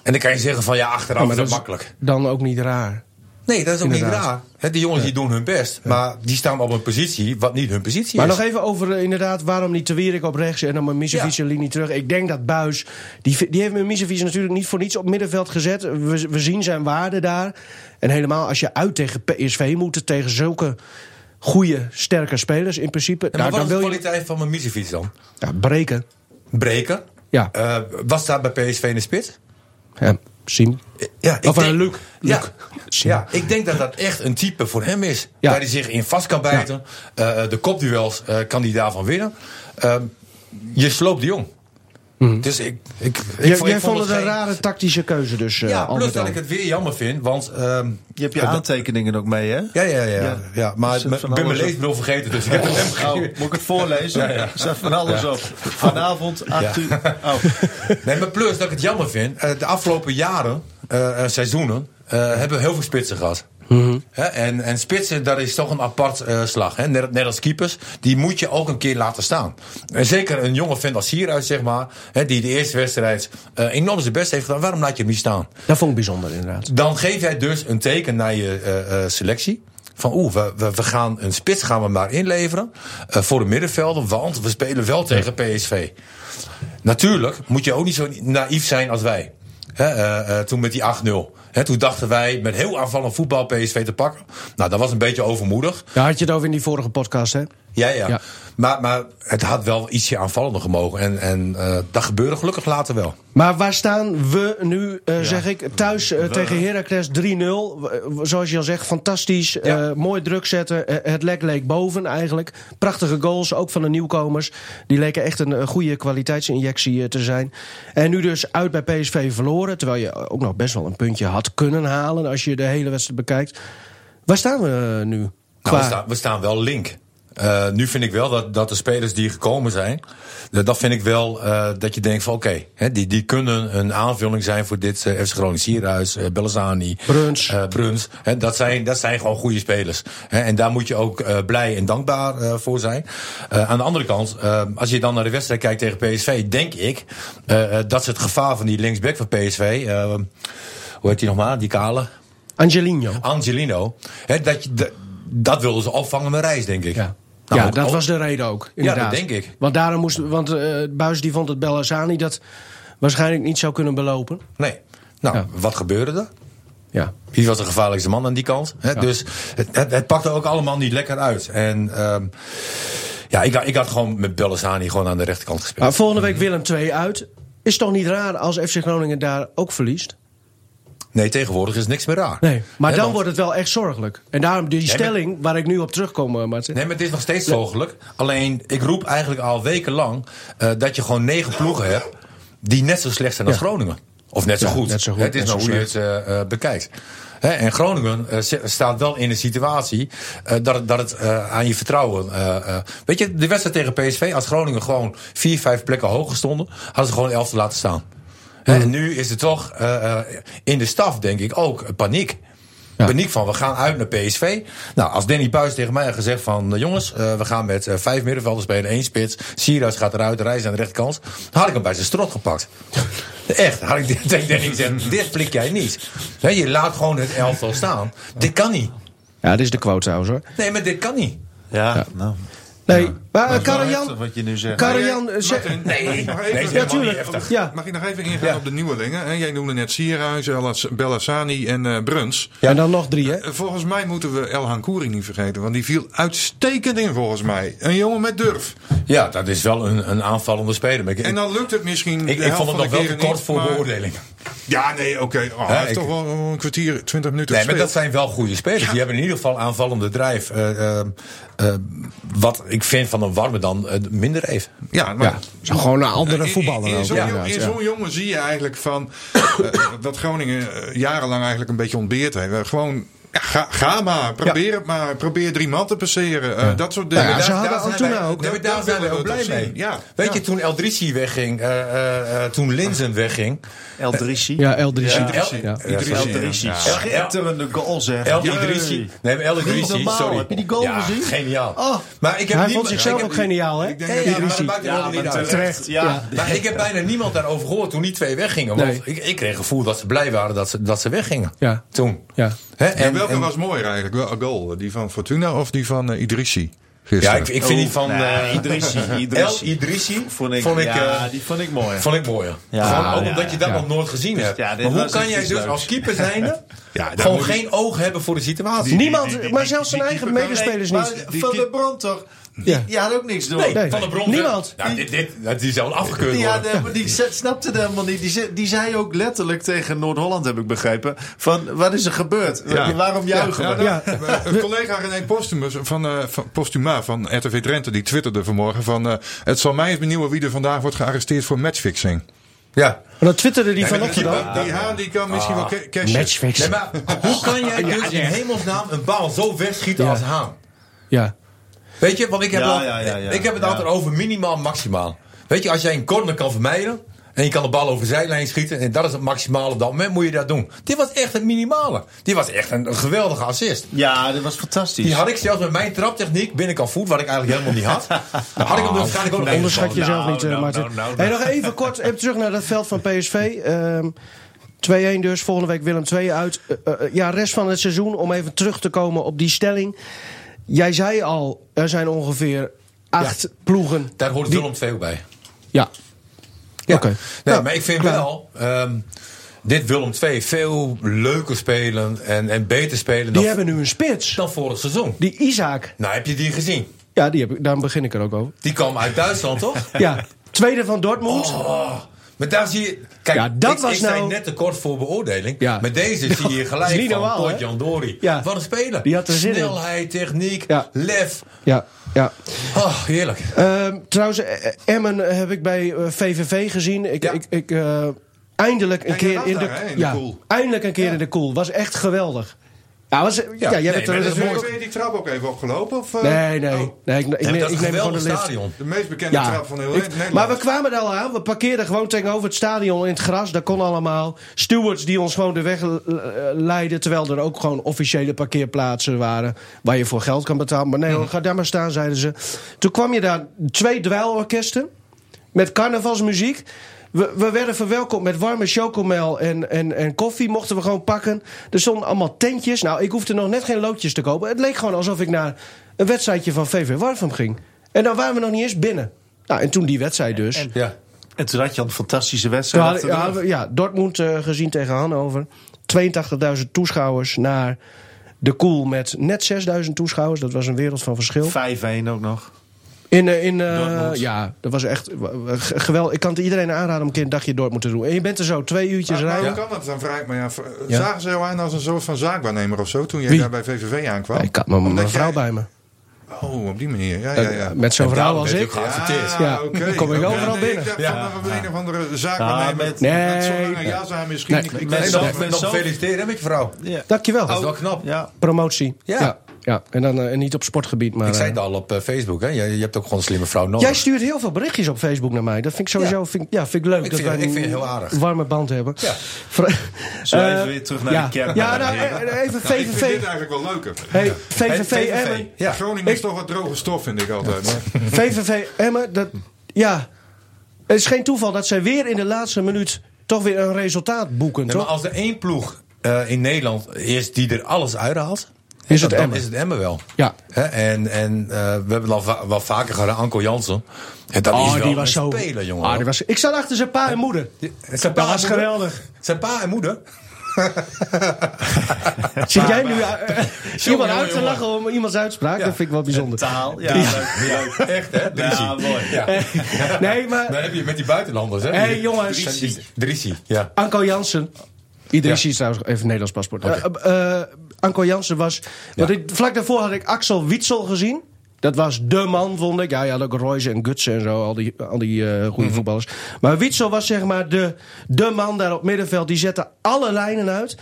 Speaker 2: En dan kan je zeggen van ja, achteraf
Speaker 1: Ja,
Speaker 2: is
Speaker 1: maar
Speaker 2: dat
Speaker 1: dat is
Speaker 2: makkelijk.
Speaker 1: dan ook niet raar.
Speaker 2: Nee, dat is ook niet
Speaker 1: Inderdaad.
Speaker 2: raar. Hè, die jongens die doen hun best. Maar die staan op een positie wat niet hun positie
Speaker 1: Maar
Speaker 2: is.
Speaker 1: nog even over eh, inderdaad waarom niet te Wierik op rechts en dan met Misevic
Speaker 2: Ja.
Speaker 1: een linie terug. Ik denk dat Buis, die, die heeft met Misevic natuurlijk niet voor niets op middenveld gezet. We, we zien zijn waarde daar. En helemaal als je uit tegen PSV moet, tegen zulke goede, sterke spelers in principe.
Speaker 2: Ja, maar
Speaker 1: nou,
Speaker 2: wat
Speaker 1: dan
Speaker 2: is de
Speaker 1: wil je
Speaker 2: kwaliteit van mijn Misefiets dan?
Speaker 1: ja, breken.
Speaker 2: Breken?
Speaker 1: Ja.
Speaker 2: Eh, was daar bij PSV in de spits?
Speaker 1: Ja, zien.
Speaker 2: Ja, ik
Speaker 1: Of, eh,
Speaker 2: denk-
Speaker 1: Luc.
Speaker 2: Ja,
Speaker 1: Luc.
Speaker 2: ja, ik denk dat dat echt een type voor hem is.
Speaker 1: Ja.
Speaker 2: Waar hij zich in vast kan bijten. Eh, de kopduels eh, kan hij daarvan winnen. Ehm, je sloopt de jong. Dus ik, ik, ik,
Speaker 1: Mhm. Jij,
Speaker 2: ik
Speaker 1: jij vond het een
Speaker 2: geen-
Speaker 1: rare tactische keuze dus, eh
Speaker 2: Ja,
Speaker 1: al
Speaker 2: plus
Speaker 1: met al.
Speaker 2: dat ik het weer jammer vind, want... ehm,
Speaker 3: Je hebt je aantekeningen ook mee, hè?
Speaker 2: ja, ja, ja, ja,
Speaker 3: Ja.
Speaker 2: Maar
Speaker 3: Er
Speaker 2: ik
Speaker 3: zit van
Speaker 2: ben mijn
Speaker 3: alles op.
Speaker 2: leesbril vergeten, dus ik heb het hem
Speaker 3: Oh,
Speaker 2: gegeven.
Speaker 3: moet ik het voorlezen?
Speaker 2: Ja, ja.
Speaker 3: Er staat van alles op. Vanavond, 8
Speaker 2: Ja.
Speaker 3: uur. Oh.
Speaker 2: Nee, maar plus dat ik het jammer vind. eh, De afgelopen jaren, eh, eh, seizoenen, eh, hebben we heel veel spitsen gehad. Hè, en, en spitsen, dat is toch een apart eh, slag. Hè? Net, net als keepers, die moet je ook een keer laten staan. En zeker een jonge vent als hieruit, zeg maar, hè, die de eerste wedstrijd eh, enorm zijn best heeft gedaan. Waarom laat je hem niet staan?
Speaker 1: Dat vond ik bijzonder inderdaad.
Speaker 2: Dan geef jij dus een teken naar je eh, eh, selectie. Van oeh, we, we, we gaan een spits gaan we maar inleveren. eh, voor de middenvelden. Want we spelen wel tegen PSV. Natuurlijk moet je ook niet zo naïef zijn als wij. Hè, eh, eh, toen met die 8-0. Hè, toen dachten wij met heel aanvallend voetbal PSV te pakken. Nou, dat was een beetje overmoedig.
Speaker 1: Daar had je het over in die vorige podcast, hè?
Speaker 2: Ja, ja.
Speaker 1: Ja.
Speaker 2: Maar, maar het had wel ietsje aanvallender gemogen. En, en eh, dat gebeurde gelukkig later wel.
Speaker 1: Maar waar staan we nu, eh, zeg ik, thuis eh, tegen Heracles 3-0. W- Zoals je al zegt, fantastisch.
Speaker 2: Ja.
Speaker 1: eh, mooi druk zetten. Eh, het lek leek boven eigenlijk. Prachtige goals, ook van de nieuwkomers. Die leken echt een eh, goede kwaliteitsinjectie eh, te zijn. En nu dus uit bij PSV verloren. Terwijl je eh, ook nog best wel een puntje had kunnen halen als je de hele wedstrijd bekijkt. Waar staan we eh, nu?
Speaker 2: Nou, we,
Speaker 1: Qua-
Speaker 2: staan, we staan wel link. Eh, nu vind ik wel dat, dat de spelers die gekomen zijn, dat, dat vind ik wel eh, dat je denkt van oké, hè, die, die kunnen een aanvulling zijn voor dit eh, FC Groningen Sierhuis, eh Bellazzani,
Speaker 1: Bruns.
Speaker 2: eh, Bruns. Hè, dat, zijn, dat zijn gewoon goede spelers. Hè, en daar moet je ook eh, blij en dankbaar eh, voor zijn. Eh, aan de andere kant, eh, als je dan naar de wedstrijd kijkt tegen PSV, denk ik eh, eh, dat ze het gevaar van die linksback van PSV, eh, hoe heet die nog maar, die kale?
Speaker 1: Angelino.
Speaker 2: Angelino. Hè, dat, je, dat, dat wilden ze opvangen met reis, denk ik.
Speaker 1: Ja.
Speaker 2: Nou,
Speaker 1: ja,
Speaker 2: ook-
Speaker 1: dat
Speaker 2: ook-
Speaker 1: was de reden ook. Inderdaad.
Speaker 2: dat denk ik.
Speaker 1: Want daarom moest, want eh Buis die vond dat Bellazzani dat waarschijnlijk niet zou kunnen belopen.
Speaker 2: Nee. Nou,
Speaker 1: Ja.
Speaker 2: wat gebeurde er?
Speaker 1: Ja.
Speaker 2: Wie was de gevaarlijkste man aan die kant? Hè? Dus het, het, het pakte ook allemaal niet lekker uit. En ehm, ja, ik, had- ik had gewoon met Bellazzani gewoon aan de rechterkant gespeeld.
Speaker 1: Maar volgende week Willem 2 uit. Is toch niet raar als FC Groningen daar ook verliest?
Speaker 2: Nee, tegenwoordig is niks meer raar.
Speaker 1: Ah. Maar
Speaker 2: Hè,
Speaker 1: dan
Speaker 2: want-
Speaker 1: wordt het wel echt zorgelijk. En daarom die
Speaker 2: maar-
Speaker 1: stelling waar ik nu op terugkom, eh, Martin.
Speaker 2: Nee, maar het is nog steeds mogelijk. Alleen, ik roep eigenlijk al wekenlang eh dat je gewoon negen ploegen hebt die net zo slecht zijn als
Speaker 1: Ja.
Speaker 2: Groningen. Of net zo,
Speaker 1: Ja,
Speaker 2: goed.
Speaker 1: net zo goed,
Speaker 2: Het is
Speaker 1: net
Speaker 2: nou
Speaker 1: zo
Speaker 2: hoe je het eh, eh, bekijkt. Hè, en Groningen eh, zit- staat wel in een situatie eh, dat, het- dat het eh, aan je vertrouwen. eh, eh, weet je, de wedstrijd tegen PSV, als Groningen gewoon vier, vijf plekken hoger stonden, hadden ze gewoon elf te laten staan. Hè,
Speaker 1: Hmm.
Speaker 2: en nu is er toch eh, eh, in de staf, denk ik, ook eh, paniek. Paniek van, we gaan uit naar PSV. Nou, als Danny Buis tegen mij had gezegd van... eh, jongens, eh, we gaan met eh, vijf middenvelders spelen, één spits. Sierhuis gaat eruit, Reis aan de rechterkant. Dan had ik hem bij zijn strot gepakt. Echt, had ik tegen Danny gezegd, dit flik jij niet. Hè, je laat gewoon het elftal staan. Dit kan niet.
Speaker 1: Ja, dit is de quote trouwens hoor.
Speaker 2: Nee, maar dit kan niet.
Speaker 3: Ja, nou.
Speaker 1: Nee, maar eh,
Speaker 3: wel
Speaker 1: Karajan...
Speaker 3: heftig wat je nu zegt.
Speaker 1: Karajan... eh, zeg-
Speaker 2: Nee, nee, nee,
Speaker 1: Ja,
Speaker 2: helemaal niet
Speaker 1: tuurlijk.
Speaker 2: heftig.
Speaker 1: Ja.
Speaker 5: Mag ik nog even ingaan
Speaker 2: Ja.
Speaker 5: op de nieuwelingen? hè? Jij noemde net Sierhuis, Elas- Bellassani en eh, Bruns.
Speaker 1: En dan nog drie, hè?
Speaker 5: Eh, Volgens mij moeten we Elhan Koering niet vergeten, want die viel uitstekend in volgens mij. Een jongen met durf.
Speaker 2: Ja, dat is wel een, een aanvallende speler. Maar ik,
Speaker 5: En
Speaker 2: ik,
Speaker 5: dan lukt het misschien.
Speaker 2: ik,
Speaker 5: de
Speaker 2: ik
Speaker 5: helft
Speaker 2: vond het
Speaker 5: van
Speaker 2: nog
Speaker 5: de
Speaker 2: wel te
Speaker 5: keren
Speaker 2: kort
Speaker 5: niet,
Speaker 2: voor
Speaker 5: maar-
Speaker 2: beoordeling.
Speaker 5: Ja, nee, oké. Oh,
Speaker 2: Ja,
Speaker 5: hij heeft
Speaker 2: ik-
Speaker 5: toch wel een kwartier, twintig minuten
Speaker 2: Nee, maar dat
Speaker 5: gespeeld.
Speaker 2: zijn wel goede spelers. Die hebben in ieder geval aanvallende drijf. Eh, eh, eh, wat ik vind van een warme dan eh, minder even.
Speaker 5: Ja, maar
Speaker 1: Gewoon een andere
Speaker 5: In- In, in zo'n
Speaker 1: ja,
Speaker 5: jong- in
Speaker 1: inderdaad,
Speaker 5: zo'n
Speaker 1: ja.
Speaker 5: jongen zie je eigenlijk van eh, dat Groningen eh, jarenlang eigenlijk een beetje ontbeerd heeft. Eh, Gewoon ja, ga, ga maar, probeer het maar, probeer drie man te passeren, eh, dat soort dingen.
Speaker 1: Ja,
Speaker 5: Daar-
Speaker 1: ze hadden
Speaker 5: daar
Speaker 1: al
Speaker 5: zijn
Speaker 1: toen
Speaker 5: wij-
Speaker 1: ook.
Speaker 5: daar-
Speaker 2: Nee, maar
Speaker 5: daar
Speaker 2: daar zijn we
Speaker 5: willen
Speaker 2: heel
Speaker 5: het
Speaker 2: blij
Speaker 5: op
Speaker 2: mee.
Speaker 5: zien. Ja,
Speaker 2: Weet
Speaker 5: ja.
Speaker 2: je, toen Eldrici wegging, eh, eh, eh, toen Linzen wegging.
Speaker 3: El Drissi.
Speaker 1: Ja, Eldrici.
Speaker 2: Eldrici.
Speaker 1: Ja.
Speaker 5: Idrissi,
Speaker 3: El
Speaker 5: ja.
Speaker 3: Drissi.
Speaker 5: Ja.
Speaker 3: Schitterende goal zeg.
Speaker 2: El
Speaker 3: eh, Jee.
Speaker 2: Idrissi. Nee, maar El Idrissi,
Speaker 3: normaal.
Speaker 2: sorry.
Speaker 3: Heb je die goal
Speaker 2: ja,
Speaker 3: gezien?
Speaker 2: Geniaal.
Speaker 1: Oh.
Speaker 2: Maar ik heb
Speaker 1: Hij
Speaker 2: niemand-
Speaker 1: vond zichzelf
Speaker 2: ik
Speaker 1: ook
Speaker 2: heb-
Speaker 1: geniaal, hè?
Speaker 5: ik denk
Speaker 2: Nee, ja, maar dat
Speaker 1: Idrissi.
Speaker 2: maakt er
Speaker 3: Ja,
Speaker 2: helemaal niet
Speaker 3: maar
Speaker 2: uit.
Speaker 3: terecht. Ja.
Speaker 2: Maar ik heb bijna niemand daarover gehoord toen die twee weggingen. Want
Speaker 1: Nee.
Speaker 2: ik, ik kreeg het gevoel dat ze blij waren dat ze, dat ze weggingen.
Speaker 1: Ja.
Speaker 2: Toen.
Speaker 1: Ja.
Speaker 2: Hè,
Speaker 5: En welke was mooier eigenlijk? Wel- een Goal, die van Fortuna of die van eh, Idrissi
Speaker 2: Ja,
Speaker 5: gisteren?
Speaker 2: ik, ik vind die van
Speaker 3: Oh, Nee,
Speaker 2: eh,
Speaker 3: Idrissi.
Speaker 2: El
Speaker 3: Nou, Idrissi.
Speaker 2: Idrissi
Speaker 3: Vond ik,
Speaker 2: vond ik,
Speaker 3: ja,
Speaker 2: eh,
Speaker 3: die vond ik mooi.
Speaker 2: vond ik mooier.
Speaker 3: Ja,
Speaker 2: Gewoon ook
Speaker 3: ja,
Speaker 2: omdat je dat
Speaker 1: ja.
Speaker 2: nog nooit gezien hebt.
Speaker 3: Ja, dit
Speaker 2: maar hoe
Speaker 3: was
Speaker 2: kan
Speaker 3: iets
Speaker 2: jij dus
Speaker 3: leuks.
Speaker 2: als keeper zijnde
Speaker 5: Ja, daar
Speaker 2: gewoon
Speaker 5: moet je-
Speaker 2: geen oog hebben voor de situatie?
Speaker 1: Niemand, maar zelfs zijn eigen medespelers
Speaker 3: Nee,
Speaker 1: niet.
Speaker 3: maar Van der Brand toch?
Speaker 1: Ja.
Speaker 3: Die, die had ook niks door.
Speaker 2: Nee,
Speaker 1: Nee.
Speaker 2: van de bron.
Speaker 1: Niemand.
Speaker 2: Nou, dit, dit, dat die zou wel afgekeurd
Speaker 3: Die,
Speaker 2: worden.
Speaker 3: had, die ze- snapte het helemaal niet. Die, ze- die zei ook letterlijk tegen Noord-Holland, heb ik begrepen, van wat is er gebeurd?
Speaker 5: Ja.
Speaker 3: Waarom juichen
Speaker 5: Ja,
Speaker 3: we?
Speaker 5: ja, dat- eh, Een collega René Postumus van, eh, van Postuma van RTV Drenthe die twitterde vanmorgen van eh, het zal mij eens benieuwen wie er vandaag wordt gearresteerd voor matchfixing.
Speaker 2: Ja.
Speaker 1: Maar dat twitterde die vanochtend
Speaker 5: die,
Speaker 1: al.
Speaker 5: die Haan die kan misschien
Speaker 1: Ah,
Speaker 5: wel ca- cashen.
Speaker 2: Nee,
Speaker 1: Matchfixen.
Speaker 2: maar hoe kan jij dus in hemelsnaam een bal zo wegschieten als Haan?
Speaker 1: Ja.
Speaker 2: Weet je, want ik heb,
Speaker 3: Ja,
Speaker 2: al-
Speaker 3: ja, ja, ja.
Speaker 2: ik heb het
Speaker 3: Ja.
Speaker 2: altijd over minimaal en maximaal. Weet je, als jij een corner kan vermijden. En je kan de bal over de zijlijn schieten. En dat is het maximale op dat moment. Moet je dat doen. Dit was echt het minimale. Dit was echt een, een geweldige assist.
Speaker 3: Ja, dat was fantastisch.
Speaker 2: Die had ik zelfs met mijn traptechniek binnenkant voet. Wat ik eigenlijk helemaal niet had. Had ik hem dan waarschijnlijk ook nog
Speaker 1: Onderschat
Speaker 2: ingevallen.
Speaker 1: jezelf
Speaker 3: Nou,
Speaker 1: niet, eh,
Speaker 3: nou,
Speaker 1: Martin.
Speaker 3: nou, nou,
Speaker 1: Hey, nog even kort even terug naar dat veld van PSV. Ehm, 2-1 dus, volgende week Willem 2 uit. Eh, eh, eh, ja, rest van het seizoen, om even terug te komen op die stelling. Jij zei al, er zijn ongeveer acht ploegen.
Speaker 2: Daar hoort Willem II ook bij.
Speaker 1: Ja.
Speaker 2: Ja.
Speaker 1: Oké. Nou,
Speaker 2: Nee,
Speaker 1: Ja,
Speaker 2: maar ik vind
Speaker 1: klaar.
Speaker 2: wel ehm, dit Willem II veel leuker spelen en, en beter spelen
Speaker 1: Die
Speaker 2: dan,
Speaker 1: hebben nu een spits.
Speaker 2: dan vorig seizoen.
Speaker 1: Die Isaac.
Speaker 2: Nou, heb je die gezien?
Speaker 1: Ja, die heb ik, daar begin ik er ook over.
Speaker 2: Die kwam uit Duitsland, toch?
Speaker 1: Ja, tweede van Dortmund.
Speaker 2: Oh, maar daar zie je... Kijk,
Speaker 1: Ja, dat
Speaker 2: ik,
Speaker 1: was
Speaker 2: ik zei
Speaker 1: nou-
Speaker 2: net te kort voor beoordeling.
Speaker 1: Ja.
Speaker 2: Maar deze zie je
Speaker 1: Dat is
Speaker 2: gelijk
Speaker 1: niet
Speaker 2: van
Speaker 1: normaal, hè?
Speaker 2: Potjan Dori.
Speaker 1: Ja.
Speaker 2: Wat een speler.
Speaker 1: Die had er zin in.
Speaker 2: Snelheid, techniek,
Speaker 1: Ja.
Speaker 2: lef.
Speaker 1: Ja, ja.
Speaker 2: Oh, heerlijk.
Speaker 1: Ehm, trouwens, eh, Emmen heb ik bij eh, VVV gezien. Ik,
Speaker 2: Ja.
Speaker 1: ik, ik, eh, eindelijk een
Speaker 5: Ja, je
Speaker 1: keer
Speaker 5: was
Speaker 1: in de,
Speaker 5: daar, hè, in de
Speaker 1: ja,
Speaker 5: koel.
Speaker 1: Eindelijk een keer in de koel. Was echt geweldig. Ja, was, ja, jij
Speaker 2: nee,
Speaker 1: bent
Speaker 2: maar
Speaker 1: er
Speaker 2: dat is
Speaker 1: mooi-
Speaker 2: mooi.
Speaker 5: Ben je die trap ook even opgelopen? Of, eh?
Speaker 1: Nee, nee.
Speaker 5: Oh,
Speaker 1: nee ik, ik,
Speaker 2: Ik,
Speaker 1: neem-
Speaker 2: dat
Speaker 1: ik
Speaker 2: is
Speaker 1: neem
Speaker 2: een
Speaker 1: gewoon de
Speaker 2: geweldig
Speaker 1: lift.
Speaker 2: stadion.
Speaker 5: de meest bekende trap van heel
Speaker 1: Ik-
Speaker 5: Nederland.
Speaker 1: maar we kwamen er al aan. We parkeerden gewoon tegenover het stadion in het gras. Dat kon allemaal. Stewards die ons gewoon de weg eh, leidden. Terwijl er ook gewoon officiële parkeerplaatsen waren. Waar je voor geld kan betalen. Maar nee
Speaker 5: Hm.
Speaker 1: hoor, ga daar maar staan, zeiden ze. Toen kwam je daar twee dweilorkesten. Met carnavalsmuziek. We, we werden verwelkomd met warme chocomel en, en, en koffie. Mochten we gewoon pakken. Er stonden allemaal tentjes. Nou, ik hoefde nog net geen loodjes te kopen. Het leek gewoon alsof ik naar een wedstrijdje van VV Warfum ging. En dan waren we nog niet eens binnen. Nou, en toen die wedstrijd dus.
Speaker 2: Ja.
Speaker 3: En toen had je al een fantastische
Speaker 1: Toen
Speaker 3: wedstrijd.
Speaker 1: hadden-
Speaker 3: achter de
Speaker 1: ja,
Speaker 3: rug.
Speaker 1: we- ja, Dortmund eh, gezien tegen Hannover. 82.000 toeschouwers naar de Koel met net 6.000 toeschouwers. Dat was een wereld van verschil.
Speaker 3: 5-1 ook nog.
Speaker 1: In, eh, in, eh,
Speaker 3: Dortmund.
Speaker 1: ja, dat was echt w- w- g- geweldig. Ik kan het iedereen aanraden om een keer een dagje Dortmund te doen. En je bent er zo twee uurtjes
Speaker 5: Maar
Speaker 1: rijden.
Speaker 5: Hoe kan dat dan? Vraag ik me af.
Speaker 1: Ja.
Speaker 5: Zagen ze jou aan als een soort van zaakwaarnemer of zo toen jij
Speaker 1: Wie?
Speaker 5: daar bij VVV aankwam?
Speaker 1: Ja, ik had mijn, mijn
Speaker 5: Omdat
Speaker 1: vrouw
Speaker 5: jij-
Speaker 1: bij me. Eh,
Speaker 5: Oh, op die manier. Ja, ja, ja.
Speaker 1: Met zo'n
Speaker 2: En
Speaker 1: vrouw
Speaker 2: daarom
Speaker 1: als
Speaker 2: werd
Speaker 1: ik.
Speaker 2: je ook geaccepteerd.
Speaker 1: Ja, dan kom ik
Speaker 5: oké.
Speaker 1: overal
Speaker 5: Nee,
Speaker 1: binnen.
Speaker 5: Ik dacht
Speaker 2: Ja.
Speaker 5: van een of andere zaakwaarnemer
Speaker 3: met-
Speaker 5: Ah, met,
Speaker 1: Nee.
Speaker 5: zo'n lange jas aan misschien.
Speaker 1: Nee.
Speaker 5: Ik- ik
Speaker 3: Met
Speaker 5: weet
Speaker 2: En
Speaker 5: het
Speaker 3: zo'n-
Speaker 5: niet.
Speaker 2: nog,
Speaker 3: met
Speaker 2: nog
Speaker 3: zo'n-
Speaker 2: feliciteren met je vrouw.
Speaker 1: Dankjewel.
Speaker 2: Dat is wel knap.
Speaker 3: Ja.
Speaker 1: Promotie.
Speaker 2: Ja.
Speaker 1: ja, ja. En, dan, eh, en niet op sportgebied. Maar,
Speaker 2: Ik zei
Speaker 1: eh,
Speaker 2: het al op eh, Facebook. Hè. Je, je hebt ook gewoon een slimme vrouw nodig.
Speaker 1: Jij stuurt heel veel berichtjes op Facebook naar mij. Dat vind ik sowieso
Speaker 2: Ja.
Speaker 1: vind, ik- ja, vind ik leuk.
Speaker 2: Ik
Speaker 1: dat
Speaker 2: vind-
Speaker 1: wij
Speaker 2: ik vind
Speaker 1: een
Speaker 2: het heel aardig.
Speaker 1: warme band hebben.
Speaker 2: Ja.
Speaker 1: Vra-
Speaker 3: Zo
Speaker 1: Eh,
Speaker 3: even weer terug naar
Speaker 1: ja.
Speaker 3: de kern.
Speaker 1: Ja, nou, eh, even
Speaker 5: Ik vind dit
Speaker 1: VVV.
Speaker 5: eigenlijk wel leuker.
Speaker 1: Hey,
Speaker 2: Hey,
Speaker 1: VVV Emmen.
Speaker 2: Ja.
Speaker 5: Groningen is toch wat droge stof, vind ik altijd. maar-
Speaker 1: VVV Emmen. Dat, ja. Het is geen toeval dat zij weer in de laatste minuut toch weer een resultaat boeken,
Speaker 2: Nee, maar
Speaker 1: toch?
Speaker 2: als er één ploeg eh, in Nederland is die er alles uithaalt.
Speaker 1: Is
Speaker 2: dan-
Speaker 1: het
Speaker 2: dan
Speaker 1: Emmen.
Speaker 2: Is het Emmen wel.
Speaker 1: Ja.
Speaker 2: Hè, en en eh, we hebben dan va- wel vaker gedaan. Anko Jansen. En
Speaker 1: Oh,
Speaker 2: dat is wel een speler, jongen.
Speaker 1: Ah, die was, ik zat achter zijn pa en moeder.
Speaker 2: Die- zijn
Speaker 1: Dat
Speaker 2: en
Speaker 1: was
Speaker 2: moeder-
Speaker 1: geweldig.
Speaker 2: Zijn pa en moeder.
Speaker 1: Zit jij nu eh, eh, iemand
Speaker 2: jongen,
Speaker 1: uit te
Speaker 2: jongen.
Speaker 1: lachen om iemands uitspraak?
Speaker 2: Ja.
Speaker 1: Dat vind ik wel bijzonder.
Speaker 3: Taal. Ja, leuk. leuk.
Speaker 2: Echt, hè? Drissi.
Speaker 3: Ja, mooi.
Speaker 2: Ja.
Speaker 1: Nee,
Speaker 2: Dan
Speaker 1: maar
Speaker 2: heb je met die buitenlanders, hè?
Speaker 1: Hey, jongens.
Speaker 2: Drissi. Drissi, ja.
Speaker 1: Eh, Anko Jansen. Iedereen
Speaker 2: Ja.
Speaker 1: ziet trouwens even een Nederlands paspoort. Eh, eh, Anko Jansen was. Want ik, vlak daarvoor had ik Axel Witsel gezien. Dat was de man, vond ik. Ja, ja, ook Royce en Gutsen en zo. Al die, al die eh, goede voetballers. Maar Witsel was zeg maar de, de man daar op middenveld. Die zette alle lijnen uit.